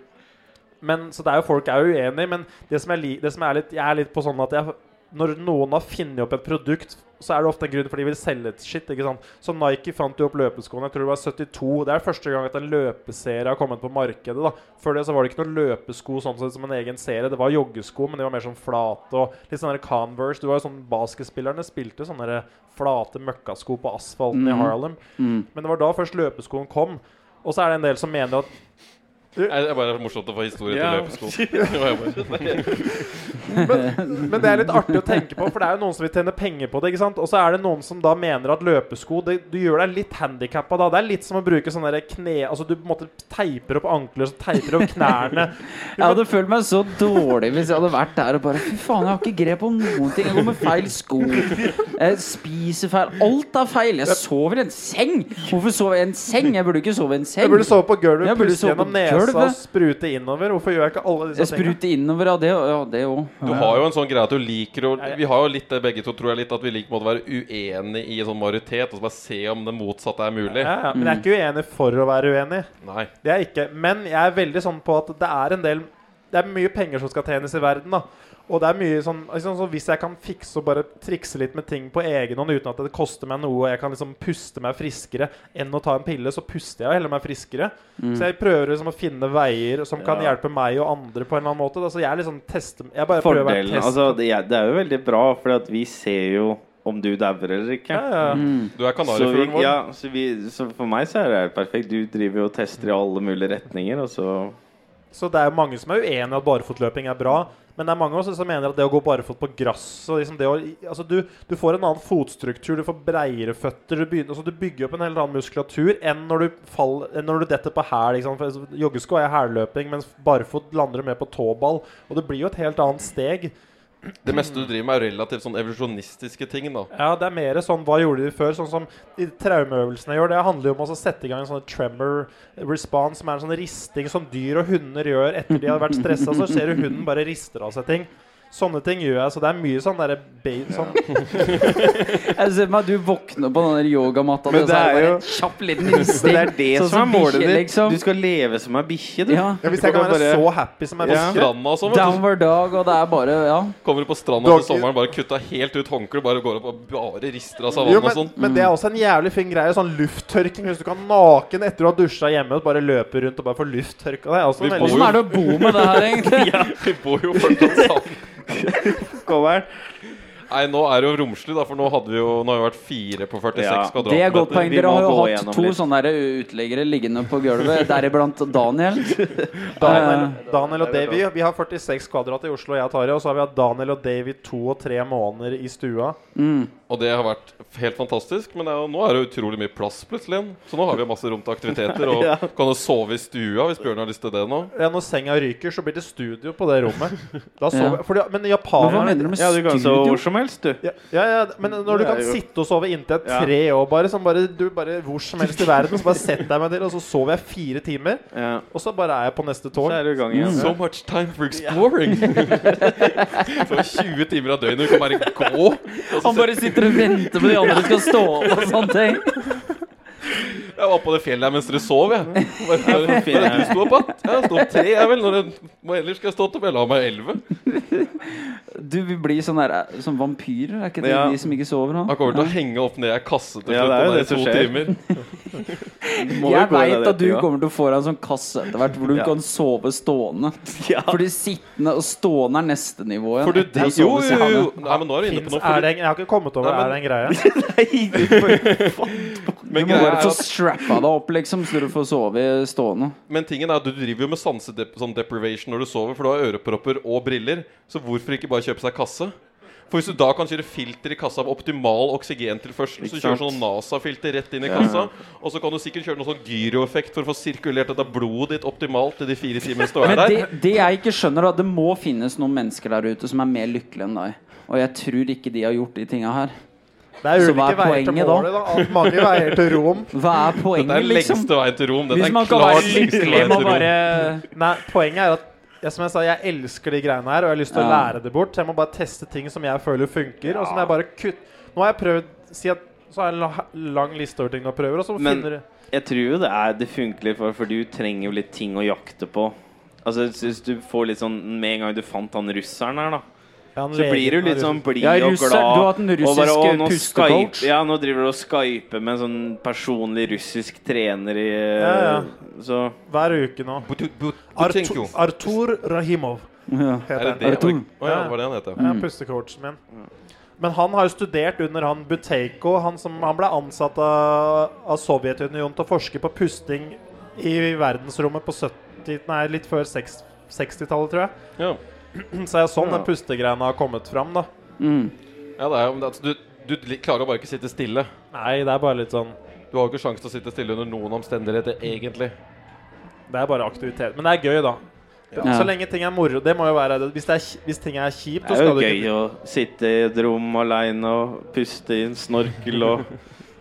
S3: Men, så det er jo folk er jo uenige, men det som, jeg, li- det som er litt, jeg er litt på sånn at jeg, når noen har funnet opp et produkt, så er det ofte en grunn for de vil selge et shit. ikke sant? Så Nike fant jo opp løpeskoene. Jeg tror det var 72. Det er første gang at en løpeserie har kommet på markedet. da. Før det så var det ikke noen løpesko sånn sett som en egen serie. Det var joggesko, men de var mer sånn flate og litt sånn der Converse. Du var jo sånn Basketspillerne spilte sånne der flate møkkasko på asfalten i Harlem.
S2: Mm.
S3: Men det var da først løpeskoen kom. Og så er det en del som mener at
S4: Nei, Det er bare morsomt å få historie
S1: Ja.
S4: til løpesko.
S3: Men det er litt artig å tenke på, for det er jo noen som vil tjene penger på det. ikke sant? Og så er det noen som da mener at løpesko det, Du gjør deg litt handikappa da. Det er litt som å bruke sånne der kne... Altså du på en måte teiper opp ankler, så teiper opp knærne.
S2: [LAUGHS] Jeg hadde følt meg så dårlig hvis jeg hadde vært der og bare Fy faen, jeg har ikke grep om noen ting. Jeg går med feil sko. Jeg spiser feil. Alt er feil. Jeg sover i en seng. Hvorfor sover jeg i en seng? Jeg burde ikke sove i en
S3: Jeg
S2: seng.
S3: burde sove på gulvet,
S2: Jeg burde
S3: puste
S2: sove på
S3: gjennom nesa
S2: gulvet.
S3: og sprute innover. Hvorfor gjør jeg ikke alle
S2: Jeg
S3: disse tingene?
S2: spruter innover av det, ja, det
S4: Du
S2: òg.
S4: har jo en sånn greie at du liker å Vi har jo litt det begge to, tror jeg, litt at vi liker på en måte å være uenige i sånn majoritet, og så bare se om det motsatte er mulig.
S3: Ja, ja, men jeg er ikke uenig for å være uenig.
S4: Nei.
S3: Det er jeg ikke. Men jeg er veldig sånn på at det er en del Det er mye penger som skal tjenes i verden, da. Og det er mye sånn liksom, så Hvis jeg kan fikse og bare trikse litt med ting på egen hånd uten at det koster meg noe, og jeg kan liksom puste meg friskere enn å ta en pille, så puster jeg heller meg friskere. Så jeg prøver liksom å finne veier som kan
S1: Mm. Ja.
S3: hjelpe meg og andre på en eller annen måte. Da. Så jeg er liksom teste, jeg bare prøver å være
S1: Fordelen
S3: test.
S1: altså, det, er- det er jo veldig bra, for vi ser jo om du dauer eller ikke.
S3: ja, ja.
S2: Mm.
S4: Du er
S1: Så, vi,
S4: kanarifuglen vår.
S1: ja, så, vi, så for meg så er det helt perfekt. Du driver jo og tester i alle mulige retninger, og så
S3: Så det er jo mange som er uenig i at barefotløping er bra. Men det er mange også som mener at det å gå barefot på gress og liksom det å, altså du, du får en annen fotstruktur, du får breiere føtter. Du, begynner, altså du bygger opp en helt annen muskulatur enn når du, fall, enn når du detter på hæl. ikke sant? For altså, Joggesko er hælløping, mens barefot lander du mer på tåball. Og det blir jo et helt annet steg.
S4: Det meste du driver med, er relativt sånn evolusjonistiske ting, da.
S3: Ja, det er mer sånn hva gjorde de før? Sånn som de traumeøvelsene jeg gjør. Det handler jo om å sette i gang en sånn tremor response, som er en sånn risting som dyr og hunder gjør etter de har vært stressa. Så ser du hunden bare rister av seg ting. Sånne ting gjør jeg. Så det er mye sånn derre ba- sånn,
S2: Jeg ser meg du våkner på den der yogamatta
S1: Men
S2: og så
S1: det er
S2: bare
S1: jo-
S2: en kjapp liten risting.
S1: [LAUGHS] Det er det
S2: Sånn
S1: som er målet
S2: bikkje,
S1: ditt.
S2: liksom.
S1: Du skal leve som ei bikkje, du.
S2: Ja.
S3: Hvis jeg
S1: Du
S3: kan
S1: kan
S3: være
S1: bare-
S3: så happy som jeg
S1: Ja.
S3: ja.
S4: Stranda og sånn. vet du.
S2: Downward dog, og det er bare Ja.
S4: Kommer du på stranda
S3: Dog-
S4: til sommeren, bare kutta helt ut håndkleet, bare går opp og bare rister av seg
S3: Jo,
S4: vann og
S3: men,
S4: sånn.
S3: men det er også en jævlig fin greie. Sånn lufttørking. Hvis du kan naken etter du har dusja hjemme, og bare løpe rundt og bare få Altså, lufttørka deg. Også
S4: Vi
S3: en
S4: bor
S3: veldig,
S2: Åssen er det å bo med det her, egentlig?
S4: Ja, [LAUGHS] vi bor jo fortsatt sammen.
S1: Coveren.
S4: Nei, nå er det jo romslig, da, for nå hadde vi jo Nå har vi vært fire på 46
S1: Ja,
S2: Det er et godt
S4: kvadratmeter.
S2: poeng.
S1: Vi
S2: Dere
S1: må
S2: har jo
S1: gå
S2: hatt
S1: gjennom
S2: to
S1: litt.
S2: sånne der uteliggere liggende på gulvet, deriblant
S1: [LAUGHS]
S2: Daniel.
S3: Daniel,
S2: Eh,
S3: Daniel og Davy. Vi har 46 kvadrat i Oslo, jeg og Tarjei. Og så har vi hatt Daniel og Davy to og tre måneder i stua.
S2: mm.
S4: Og det har vært helt fantastisk, men det er jo, nå er det jo utrolig mye plass plutselig igjen. Så nå har vi masse rom til
S1: [LAUGHS]
S4: aktiviteter, og kan jo sove i stua hvis Bjørn har lyst til det nå.
S3: Ja, når senga ryker, så blir det studio på det rommet. Da sover,
S2: Ja.
S3: fordi, men
S2: Men hva mener
S3: japanerne
S2: du med
S1: Ja, du kan sove
S2: studio?
S1: hvor som helst, du.
S3: ja, ja, ja, men når du
S1: Det er
S3: kan
S1: jo-
S3: sitte og sove inntil et
S1: Ja.
S3: tre år, bare, som bare, du bare hvor som helst i verden, så bare sett deg meg til, og så sover jeg fire timer,
S1: Ja.
S3: og så bare er jeg på neste
S1: Så
S3: tog.
S1: er du i gang
S2: Mm.
S1: igjen.
S4: So much time for exploring! [LAUGHS] Så 20 timer av døgnet, du kan bare gå. Og så
S2: Han bare sitter og venter på de andre skal stå opp og sånne ting.
S4: Jeg var på det fjellet her mens dere sov, jeg. Bare, bare,
S1: fint, ja.
S4: bare du sto opp igjen. Jeg sto opp tre, jeg vel. Når jeg, hva ellers skal jeg stå opp? Jeg la meg elleve.
S2: Du vil bli sånn der eh, Som vampyr, er ikke det
S1: Ja.
S2: de som ikke sover?
S4: Han
S2: Han?
S4: kommer til å henge opp ned i ei kasse til
S1: Ja, det
S4: slutt.
S1: er jo
S4: Ja, det
S1: det som
S4: to
S1: skjer.
S4: timer.
S1: Må jo
S2: Jeg
S1: gå i
S2: veit
S1: den
S2: at du
S1: retninga.
S2: kommer til å få deg en sånn kasse etter hvert hvor du
S1: Ja.
S2: kan sove stående.
S1: [LAUGHS] Ja.
S2: Fordi sittende og stående er neste nivå igjen.
S4: For du
S2: etter å
S1: sånn
S4: Jo,
S2: sove
S4: jo, jo.
S2: stående.
S4: Nei, men nå er du inne på
S3: Finnes,
S4: noe.
S3: er
S4: For,
S3: det, en- jeg har ikke kommet over
S4: Nei, men-
S3: er det en
S2: [LAUGHS]
S3: greie.
S2: Du
S4: men,
S2: må
S4: greia
S2: bare
S4: er
S2: få
S4: at,
S2: strappa deg opp, liksom, så du får sove i stående.
S4: men tingen er at du driver jo med sansedep sånn deprivation når du sover, for du har ørepropper og briller. Så hvorfor ikke bare kjøpe seg kasse? For hvis du da kan kjøre filter i kassa av optimal oksygentilførsel, så
S1: Ikke
S4: kjører
S1: sant?
S4: sånn NASA-filter rett inn i kassa, og så kan du sikkert kjøre noe sånn gyroeffekt for å få sirkulert dette blodet ditt optimalt i de fire timene du er
S2: Men
S4: der.
S2: det, det jeg ikke skjønner, da, det må finnes noen mennesker der ute som er mer lykkelige enn deg. Og jeg tror ikke de har gjort de tinga her.
S3: Det er
S2: Så
S3: ulike
S2: hva er
S3: veier til
S2: poenget da?
S3: målet, da. Alt- Mange veier til Rom.
S2: Hva er
S4: [LAUGHS] Det
S2: poenget,
S4: er
S2: liksom?
S4: lengste veien til Rom. Den
S2: Hvis
S4: er
S2: man kan være
S4: klart lengste
S2: lykkelig
S4: veien
S2: med å
S4: til Rom.
S2: bare
S3: Nei, poenget er at ja, som jeg sa, jeg elsker de greiene her, og jeg har lyst til å
S2: Ja.
S3: lære det bort. Så jeg må bare teste ting som jeg føler funker, og som jeg bare kutt... Nå har jeg prøvd Si at så har jeg en la- lang liste over ting du prøver, og så
S1: Men-
S3: finner du
S1: Jeg tror jo det er det funker litt, for, for du trenger jo litt ting å jakte på. Altså, jeg synes du får litt sånn Med en gang du fant han russeren her, da,
S3: Ja, han
S1: så
S3: legen
S1: blir du
S3: har
S1: litt sånn blid
S2: Ja,
S1: og
S2: russer-
S1: glad.
S2: du har hatt den
S1: og bare,
S2: russiske
S1: «Å, nå
S2: pustecoach».
S1: Skype, ja, nå driver du og skyper med en sånn personlig russisk trener i
S3: Ja, ja.
S1: Så
S3: Hver uke nå.
S4: Butu- but-
S3: Artur,
S4: Butenko.
S3: Artur Rahimov
S2: ja.
S4: Er
S3: heter
S4: det
S3: han.
S4: det?
S2: Artur.
S4: Å ja, det var det han het, ja.
S3: Ja, pustecoachen min. Men han har jo studert under han Buteiko. Han, som, han ble ansatt av, av Sovjetunionen til å forske på pusting i verdensrommet på 70 Nei, litt før seks- 60-tallet, tror jeg.
S4: ja.
S3: [CLEARS THROAT] Så jeg er sånn den pustegreiene har kommet fram, da.
S2: Mm.
S4: Ja, det er jo men det er- du, du li- klarer å bare ikke sitte stille.
S3: Nei, det er bare litt sånn
S4: Du har jo ikke sjanse til å sitte stille under noen omstendigheter, egentlig.
S3: Det er bare aktivitet. Men det er gøy, da.
S2: Ja.
S3: Så lenge ting er moro. Det må jo være det. Hvis, det er, kj- hvis ting er kjipt,
S1: det
S3: så
S1: er jo
S3: skal du
S1: gøy
S3: ikke
S1: å sitte i et rom aleine og puste i en snorkel og
S3: [LAUGHS]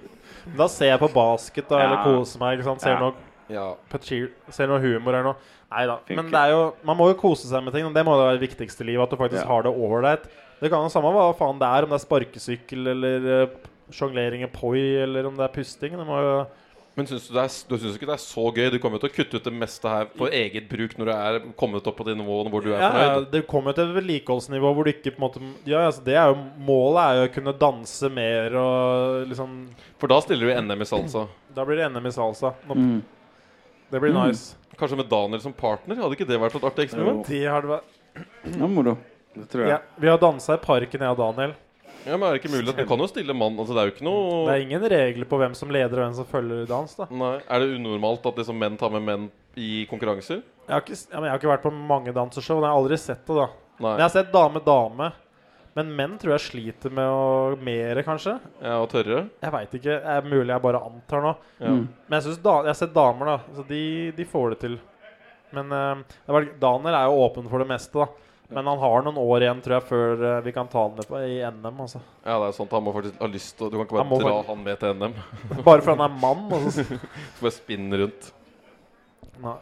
S3: Da ser jeg på basket da, eller
S1: Ja.
S3: koser meg. ikke sant? Ser
S1: Ja.
S3: noe
S4: Ja.
S3: Patchir- Ser noe humor eller noe. Nei da. Men
S1: Funker.
S3: det er jo, man må jo kose seg med ting. Og det må jo være det viktigste i livet. At du faktisk
S1: Ja.
S3: har det ålreit. Det kan jo samme hva faen det er, om det er sparkesykkel eller eh, sjonglering i poi, eller om det er pusting. Det må jo
S4: Men syns du, det er, s- du syns ikke det er så gøy? Du kommer jo til å kutte ut det meste her for eget bruk når du er kommet opp på de nivåene hvor du er
S3: ja, ja,
S4: fornøyd.
S3: Det kommer jo til et vedlikeholdsnivå hvor du ikke på en måte Ja, altså, det er jo Målet er jo å kunne danse mer og liksom
S4: For da stiller du i altså. NM i salsa.
S3: Da blir det NM i salsa. Nå,
S2: Mm.
S3: Det blir
S2: Mm.
S3: nice.
S4: Kanskje med Daniel som partner? Hadde ikke det vært et artig eksperiment?
S3: De har det vært-
S2: Det var moro.
S1: Det tror jeg.
S3: ja, vi har dansa i parken, jeg og Daniel.
S4: Ja, men er det ikke mulig? at- Du kan jo stille mann. Altså, det er jo ikke
S3: Det er
S4: noe
S3: ingen regler på hvem som leder og hvem som følger dans. da
S4: Nei. Er det unormalt at liksom menn tar med menn i konkurranser?
S3: Jeg har ikke, s- ja, men jeg har ikke vært på mange danseshow. men Jeg har aldri sett det, da. Men jeg
S4: Nei.
S3: har sett dame-dame. Men menn tror jeg sliter med å mere, kanskje.
S4: Ja, og tørre?
S3: Jeg veit ikke. Det er mulig jeg bare antar nå.
S4: Ja.
S2: Mm.
S3: Men jeg, synes da, jeg har sett damer, da. Så de, de får det til. Men eh, det var, Daniel er jo åpen for det meste, da. Men han har noen år igjen, tror jeg, før eh, vi kan ta han med på i NM. Altså.
S4: Ja, det er sant. Han må faktisk ha lyst til å- Du kan ikke
S3: Han må
S4: bare dra
S3: bare-
S4: han med til NM.
S3: Bare fordi han er mann. altså. Og så,
S4: [LAUGHS] Du bare spinne rundt.
S3: nei.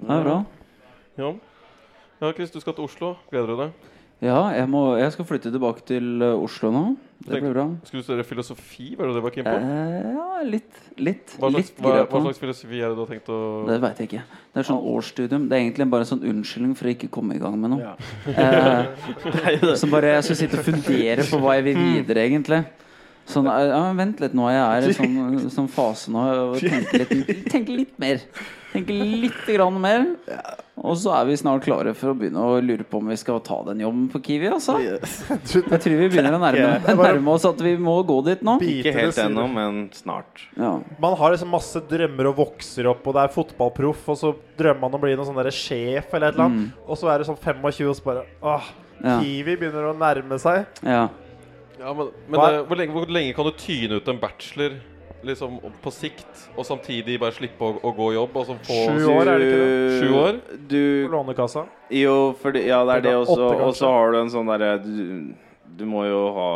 S2: Det er bra.
S4: Ja. ja, Chris, du skal til Oslo. Gleder du deg?
S2: Ja, jeg, må, jeg skal flytte tilbake til eh, Oslo nå. Det
S4: Tenk-
S2: blir bra.
S4: Skulle du studere filosofi? Var det det du var keen på?
S2: Eh, ja, litt. Litt,
S4: Hva slags,
S2: litt
S4: hva,
S2: gira
S4: hva
S2: på.
S4: slags filosofi er det du har tenkt å
S2: Det veit jeg ikke. Det er sånn årsstudium. Det er egentlig bare en sånn unnskyldning for å ikke komme i gang med noe.
S1: Ja.
S2: Eh,
S1: [LAUGHS] Det er jo det.
S2: som bare jeg skal sitte og fundere på hva jeg vil videre, egentlig. Sånn, eh, ja, men vent litt nå, jeg er i sånn, sånn fase nå. og Tenker litt, tenker litt mer. Tenker litt grann mer. Og så er vi snart klare for å begynne å lure på om vi skal ta den jobben på Kiwi, altså. Jeg tror vi begynner å nærme, nærme oss at vi må gå dit nå.
S1: Ikke
S3: Biter det,
S1: helt
S3: sier
S1: ennå,
S3: du.
S1: men snart.
S2: Ja.
S3: Man har liksom masse drømmer og vokser opp, og det er fotballproff, og så drømmer man om å bli noen sånn derre sjef eller et eller annet, og så er det sånn 25, og så bare Åh,
S2: Ja.
S3: Kiwi begynner å nærme seg.
S2: ja.
S4: Ja, men, men
S3: Hva-
S4: eh, hvor, lenge, hvor lenge kan du tyne ut en bachelor liksom, på sikt, og samtidig bare slippe å, å gå i jobb? Og så få
S3: Sju år, er det ikke det?
S1: Du-
S4: Sju år?
S3: På
S1: Du
S3: Lånekassa.
S1: Jo, fordi Ja, det er det også.
S3: Åtte, kanskje.
S1: Og så har du en sånn derre du, du må jo ha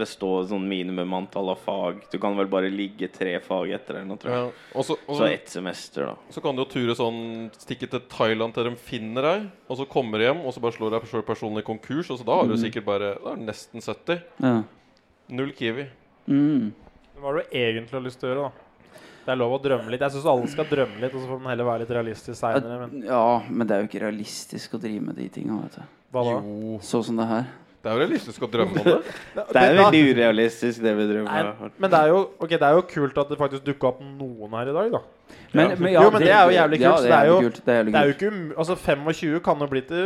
S1: bestå sånn minimum antall av fag. Du kan vel bare ligge tre fag etter eller noe, tror
S4: Ja.
S1: jeg.
S4: Og så, og
S1: Så
S4: så,
S1: ett semester, da.
S4: så kan du jo ture sånn stikke til Thailand til de finner deg, og så kommer du hjem, og så bare slår deg selv personlig konkurs, og så da har du
S1: Mm.
S4: sikkert bare da er du nesten 70.
S2: ja.
S4: Null Kiwi.
S2: Mm.
S3: Hva har du egentlig har lyst til å gjøre, da? Det er lov å drømme litt. Jeg syns alle skal drømme litt, og så får man heller være litt realistisk seinere. Men
S2: Ja, men det er jo ikke realistisk å drive med de tinga. vet du.
S3: hva da?
S4: Jo.
S2: Sånn som det her.
S4: Det er jo realistisk å drømme om det.
S1: Det er veldig urealistisk, det vi
S3: Nei,
S1: driver med.
S3: men det er, jo, ok, det er jo kult at det faktisk dukka opp noen her i dag, da.
S2: Men, men, ja,
S3: Jo, men det er jo jævlig
S2: ja,
S3: kult, så
S2: det er jo
S3: det
S2: kult. Det er jævlig
S3: Det er jo
S2: kult.
S3: ikke um- Altså, 25 kan jo bli til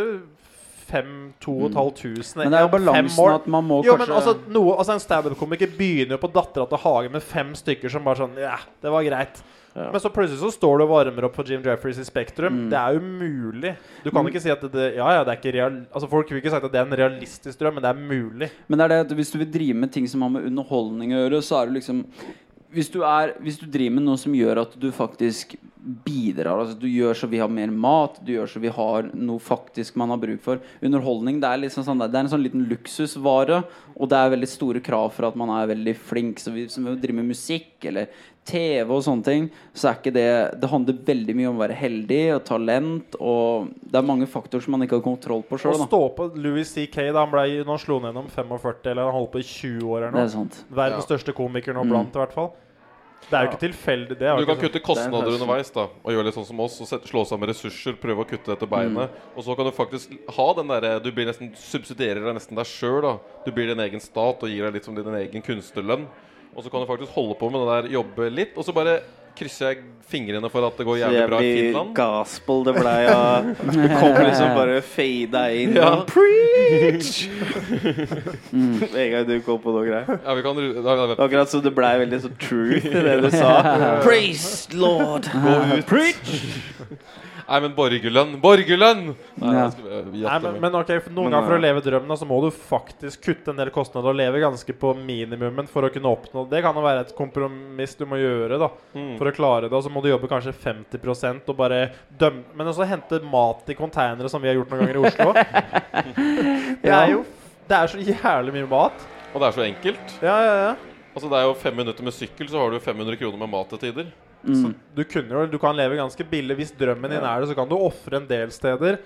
S3: 5500
S2: Men det er jo balansen at man må
S3: Jo, men
S2: kanskje
S3: altså, noe, altså En standup-komiker begynner jo på Dattera til Hagen med fem stykker som bare sånn Ja, det var greit.
S1: Ja.
S3: Men så plutselig så står du og varmer opp for Jim Jeffries i Spektrum.
S2: Mm.
S3: Det er umulig. Du kan ikke si at det, ja, ja, det er ikke real, altså Folk vil ikke sagt at det er en realistisk drøm, men det er mulig.
S2: Men det er det at hvis du vil drive med ting som har med underholdning å gjøre, så er det liksom hvis du, er, hvis du driver med noe som gjør at du faktisk bidrar altså Du gjør så vi har mer mat, du gjør så vi har noe faktisk man har bruk for. Underholdning det er liksom sånn, det er en sånn liten luksusvare, og det er veldig store krav for at man er veldig flink. Så hvis man driver med musikk eller TV og sånne ting, så er ikke det Det handler veldig mye om å være heldig og talent, og det er mange faktorer som man ikke har kontroll på
S3: Å
S2: sjøl.
S3: stå på Louis C.K. da han, ble, når han slo ned gjennom 45, eller han holdt på i 20 år eller
S2: Det
S3: noe.
S2: er Mm. sant.
S3: Verdens største komiker nå blant, i hvert fall. Det er jo ikke tilfeldig, det. Er
S4: Du
S3: jo
S4: kan
S3: ikke sånn.
S4: kutte kostnader
S1: Det er en
S4: underveis da og gjøre litt sånn som oss. Og sette, slå sammen ressurser, prøve å kutte etter beinet.
S1: Mm.
S4: Og så kan du faktisk ha den derre Du blir nesten subsidierer deg nesten deg sjøl. da. Du blir din egen stat og gir deg litt som din egen kunstnerlønn. Og så kan du faktisk holde på med det der, jobbe litt, og så bare krysser jeg fingrene for at det går jævlig bra i
S1: Jævlig
S4: Finland.
S1: gospel det blei av Det kom liksom bare fada inn.
S4: Ja.
S1: og
S2: [LAUGHS]
S1: Preach! Mm. En gang du kom på noe greier.
S4: Ja, vi kan ru- da- da- da-
S1: Akkurat som det blei veldig så truth i det du
S2: [LAUGHS]
S1: sa. Praise Lord!
S4: Gå ut.
S1: Preach!
S4: Nei, men borgerlønn! Borgerlønn! Nei,
S2: Ja.
S4: jeg skal- jeg- jeg
S3: Nei,
S4: jatter
S3: men,
S4: meg.
S3: men ok, for Noen
S1: Men,
S3: ganger for
S1: ja.
S3: å leve drømmen, da, så må du faktisk kutte en del kostnader og leve ganske på minimumen for å kunne oppnå det. Det kan jo være et kompromiss du må gjøre da
S4: Mm.
S3: for å klare det. Og så må du jobbe kanskje 50 og bare dømme Men også hente mat i konteinere, som vi har gjort noen ganger i Oslo. det
S2: Ja.
S3: er jo Det er så jævlig mye mat.
S4: Og det er så enkelt.
S3: Ja, ja, ja.
S4: Altså, det er jo fem minutter med sykkel, så har du 500 kroner med mat til tider.
S2: Mm.
S3: Så du, kunne jo, du kan leve ganske billig. Hvis drømmen din er det, så kan du ofre en del steder.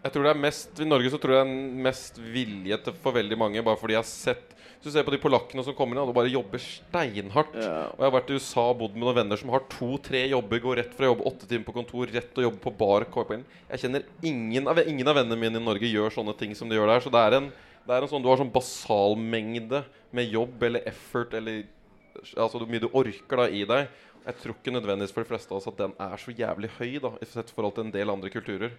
S4: Jeg tror det er mest I Norge så tror jeg det er mest vilje til for veldig mange, bare fordi jeg har sett Hvis du ser på de polakkene som kommer inn, og bare jobber steinhardt
S1: Ja.
S4: Og jeg har vært i USA og bodd med noen venner som har to-tre jobber, går rett fra jobb åtte timer på kontor, rett til å jobbe på bar. kommer inn. Jeg kjenner ingen av, ingen av vennene mine i Norge gjør sånne ting som de gjør der. Så det er en, det er en sånn Du har sånn basalmengde med jobb eller effort eller Altså hvor mye du orker da i deg. Jeg tror ikke nødvendigvis for de fleste av oss at den er så jævlig høy, da, i sett forhold til en del andre kulturer.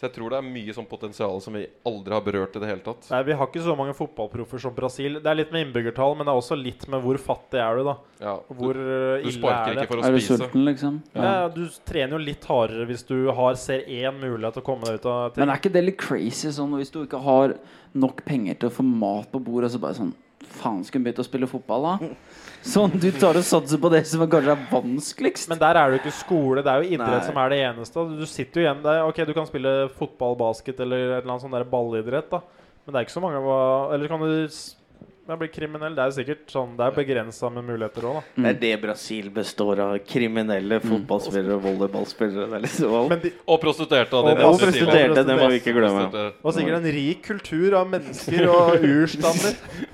S4: Så jeg tror det er mye sånn potensial som vi aldri har berørt i det hele tatt.
S3: Nei, Vi har ikke så mange fotballproffer som Brasil. Det er litt med innbyggertall, men det er også litt med hvor fattig er du, da.
S4: Ja,
S3: Og
S4: du,
S3: Hvor eh,
S4: du
S3: ille
S4: sparker
S3: er det?
S4: ikke for å
S2: Er du
S4: spise.
S2: sulten, liksom?
S3: Ja. du trener jo litt hardere hvis du har, ser én mulighet til å komme deg ut av ting.
S2: Men er ikke det litt crazy sånn hvis du ikke har nok penger til å få mat på bordet, så bare sånn Faen, skulle hun begynt å spille fotball, da?
S1: [LAUGHS]
S2: Sånn, du tar og satser på det som kanskje er vanskeligst?
S3: Men der er det jo ikke skole, det er jo idrett
S2: Nei.
S3: som er det eneste. Du sitter jo igjen der. Ok, du kan spille fotball, basket eller et eller annet sånn der ballidrett, da. Men det er ikke så mange hva- Eller kan du s- ja, bli kriminell? Det er jo sikkert sånn Det er begrensa med muligheter òg, da.
S2: Mm.
S1: Det er det Brasil består av. Kriminelle fotballspillere og volleyballspillere. Det er liksom alt.
S3: Men de,
S4: Og prostituerte. av
S3: Og
S4: de
S1: Og
S4: neste timene.
S1: prostituerte, det må vi ikke glemme.
S4: Prostituerte.
S3: Og sikkert en rik kultur av mennesker og urstander.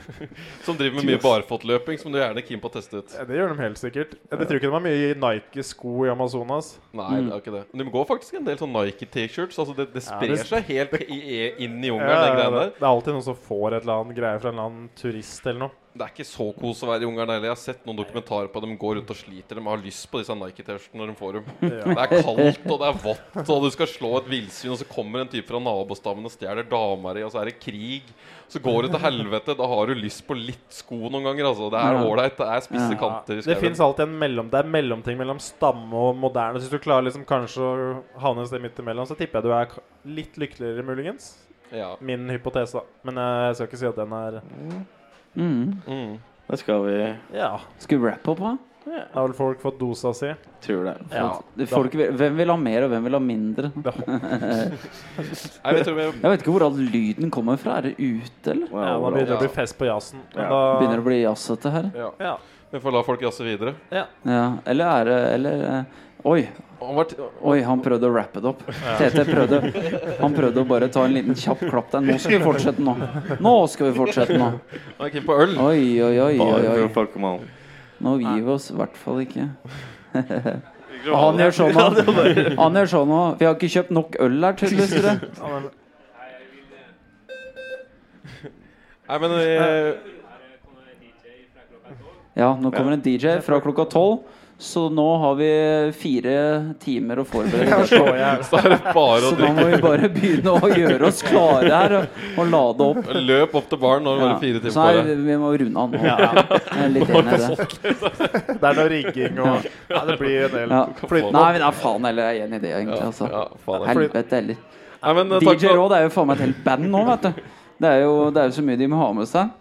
S4: Som driver med mye barfotløping, som du gjerne er keen på å teste ut.
S3: Ja, det gjør de helt sikkert. Jeg tror ikke de har mye Nike-sko i Amazonas.
S4: Nei, det er ikke det. Men de går faktisk en del sånn Nike-T-shirts. Altså det, det sprer
S3: Mm. Ja, det-
S4: seg helt i, i- inn i Ungarn, den
S3: Ja,
S4: greia
S3: det,
S4: der.
S3: det er alltid noen som får et eller annet greie fra en eller annen turist eller noe.
S4: Det er ikke så kos å være i Ungarn heller. Jeg har sett noen dokumentarer på at de går rundt og sliter. De har lyst på disse Nike-T-skjortene når de får dem. Det er kaldt, og det er vått, og du skal slå et villsvin, og så kommer en type fra nabostammen og stjeler dama di, og så er det krig. Så går det til helvete. Da har du lyst på litt sko noen ganger, altså. Det er
S2: Ja.
S4: ålreit. Det er spisse kanter i
S3: Det fins
S4: skauen.
S3: alltid en mellom, det er en mellomting mellom stamme og moderne. Så Hvis du klarer liksom kanskje å havne et sted midt imellom, så tipper jeg du er k- litt lykkeligere, muligens.
S4: Ja.
S3: Min hypotese, da. Men eh, jeg skal ikke si at den er
S2: Mm.
S4: Mm.
S1: Det skal vi
S3: Ja.
S2: Skal vi wrap opp, da?
S3: Det har vel folk fått dosa si.
S1: Tror det.
S3: Ja.
S2: Det- Folk, vil- hvem vil ha mer, og hvem vil ha mindre?
S4: Nei, jeg tror vi
S2: Jeg vet ikke hvor all lyden kommer fra. Er det ute, eller?
S1: Wow,
S3: Ja, nå
S1: bra.
S3: begynner det å
S4: Ja.
S3: bli fest på jazzen.
S1: Ja.
S3: Men da
S2: Begynner det å bli jazzete her?
S4: ja.
S3: Ja.
S4: Vi får la folk jazze videre.
S3: ja.
S2: Ja. Eller er det Eller eh, Oi,
S4: Han var
S2: oi, han prøvde å wrappe det opp. Tete prøvde Han prøvde å bare ta en liten kjapp klapp der. Nå skal vi fortsette, nå. Nå skal vi fortsette, nå.
S4: Han er keen på øl.
S2: Oi, oi, oi, oi,
S1: Bare for
S2: oi.
S1: å fucke med alle.
S2: Nå gir vi oss i hvert fall ikke. Og han gjør sånn nå. Han gjør sånn nå. Vi har ikke kjøpt nok øl her, tydeligvis. Tror jeg.
S3: Ja, men-
S4: Nei, men eh,
S2: Ja, nå kommer en DJ fra klokka tolv Så nå har vi fire timer å forberede oss på.
S3: Slår jeg.
S4: Så er det bare
S2: Så
S4: å
S2: nå må
S4: drikke.
S2: vi bare begynne å gjøre oss klare her og, og lade opp.
S4: Løp opp til baren når det
S2: Ja.
S4: var fire timer
S2: Så
S4: på
S2: her,
S4: deg.
S2: vi må runde av nå.
S3: Ja, ja.
S2: Jeg er litt enig i det.
S3: Det er noe rigging og ja, Det blir en del
S2: [LAUGHS] Ja.
S3: flytende.
S2: Nei, men da faen heller, jeg er enig i det, egentlig.
S4: Ja,
S2: Altså.
S4: ja, faen, det er
S2: Helvete heller.
S4: Nei, men, eh, takk
S2: DJ
S4: for-
S2: Raw det er jo faen meg et helt band nå, vet du. Det er jo, det er jo så mye de må ha med seg.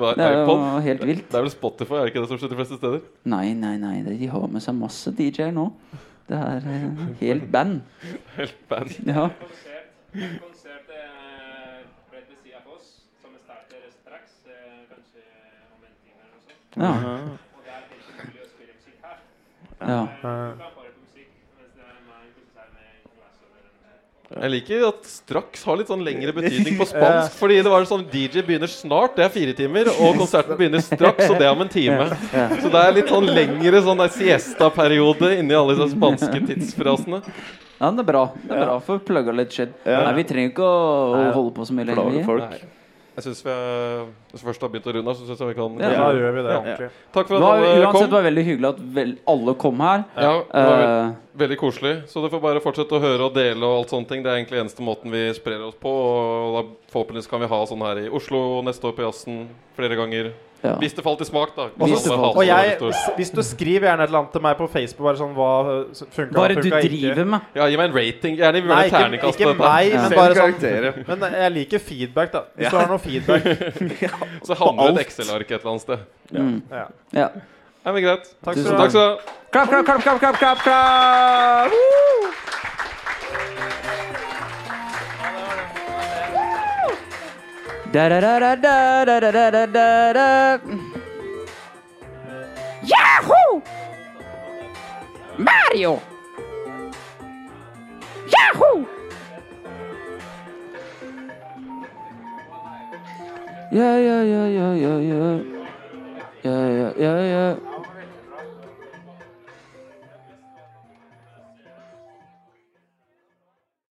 S4: Hva er
S2: Det er jo
S4: iPod?
S2: helt vilt.
S4: Det er vel Spotify, er det ikke det som skjer de fleste steder?
S2: Nei, nei, nei, det- de har med seg masse DJ-er nå. Det er eh, helt band.
S4: Helt band.
S2: Ja.
S5: Konsert er rett ved siden av oss, som starter straks. eh, Kanskje om en time eller noe sånt.
S2: Ja.
S5: Og det er helt umulig å spille musikk her.
S2: ja.
S5: Eh, Du kan bare på musikk, mens det er man koser seg med en glass eller noe sånt.
S4: Jeg liker at straks har litt sånn lengre betydning
S2: [LAUGHS]
S4: på spansk. Fordi det var sånn DJ begynner snart, det er fire timer. Og konserten begynner straks, og det er om en time. Så det er litt sånn lengre sånn der siesta-periode inni alle disse spanske tidsfrasene.
S2: ja, men det er bra. Det er bra for å plugge litt shit. Nei, vi trenger ikke å å holde på så mye lenger.
S1: Plage
S2: vi.
S1: folk.
S4: Nei. Jeg syns vi er, hvis vi først har begynt å runde her, så syns jeg vi kan
S3: Da
S2: Ja.
S3: gjør vi det ordentlig.
S4: Takk
S2: Det
S4: for
S2: var,
S4: at alle
S2: uansett det
S4: kom.
S2: var veldig hyggelig at vel, alle kom her.
S4: Ja, det var vel-
S2: Eh,
S4: Veldig koselig. Så du får bare fortsette å høre og dele og alt sånne ting. Det er egentlig eneste måten vi sprer oss på. Og da forhåpentligvis kan vi ha sånn her i Oslo neste år på jazzen flere ganger.
S2: ja.
S4: Hvis det falt i smak, da.
S2: Hvis det
S4: Alle
S2: falt-
S4: hater
S3: Og
S4: det
S3: jeg,
S4: neste år.
S3: hvis du skriver gjerne et eller annet til meg på Facebook Bare sånn hva øh, funka,
S2: Hva er det du
S3: funka ikke.
S2: driver med?
S4: Ja, gi meg en rating. Gjerne
S3: Nei,
S4: gjør et
S3: ikke,
S4: terningkast
S3: ikke
S4: på dette.
S3: meg,
S4: [LAUGHS]
S3: men
S1: Selv
S3: bare
S1: karakterer.
S3: sånn Men jeg liker feedback, da. Hvis du har noe
S4: [LAUGHS]
S3: feedback.
S4: Så havner
S1: alt.
S4: et Excel-ark et eller annet sted.
S3: Ja.
S2: Mm. Ja.
S4: Nei, men greit.
S3: Takk
S2: Tusen
S3: skal du ha.
S4: Takk skal du ha.
S2: Klapp, klapp, klapp, klapp, klapp, klapp, klapp! Woo! Da-da-da-da-da-da-da-da-da. Yahoo! Mario! Yahoo! Ja, ja, ja, ja, ja, ja. Ja, ja, ja, ja.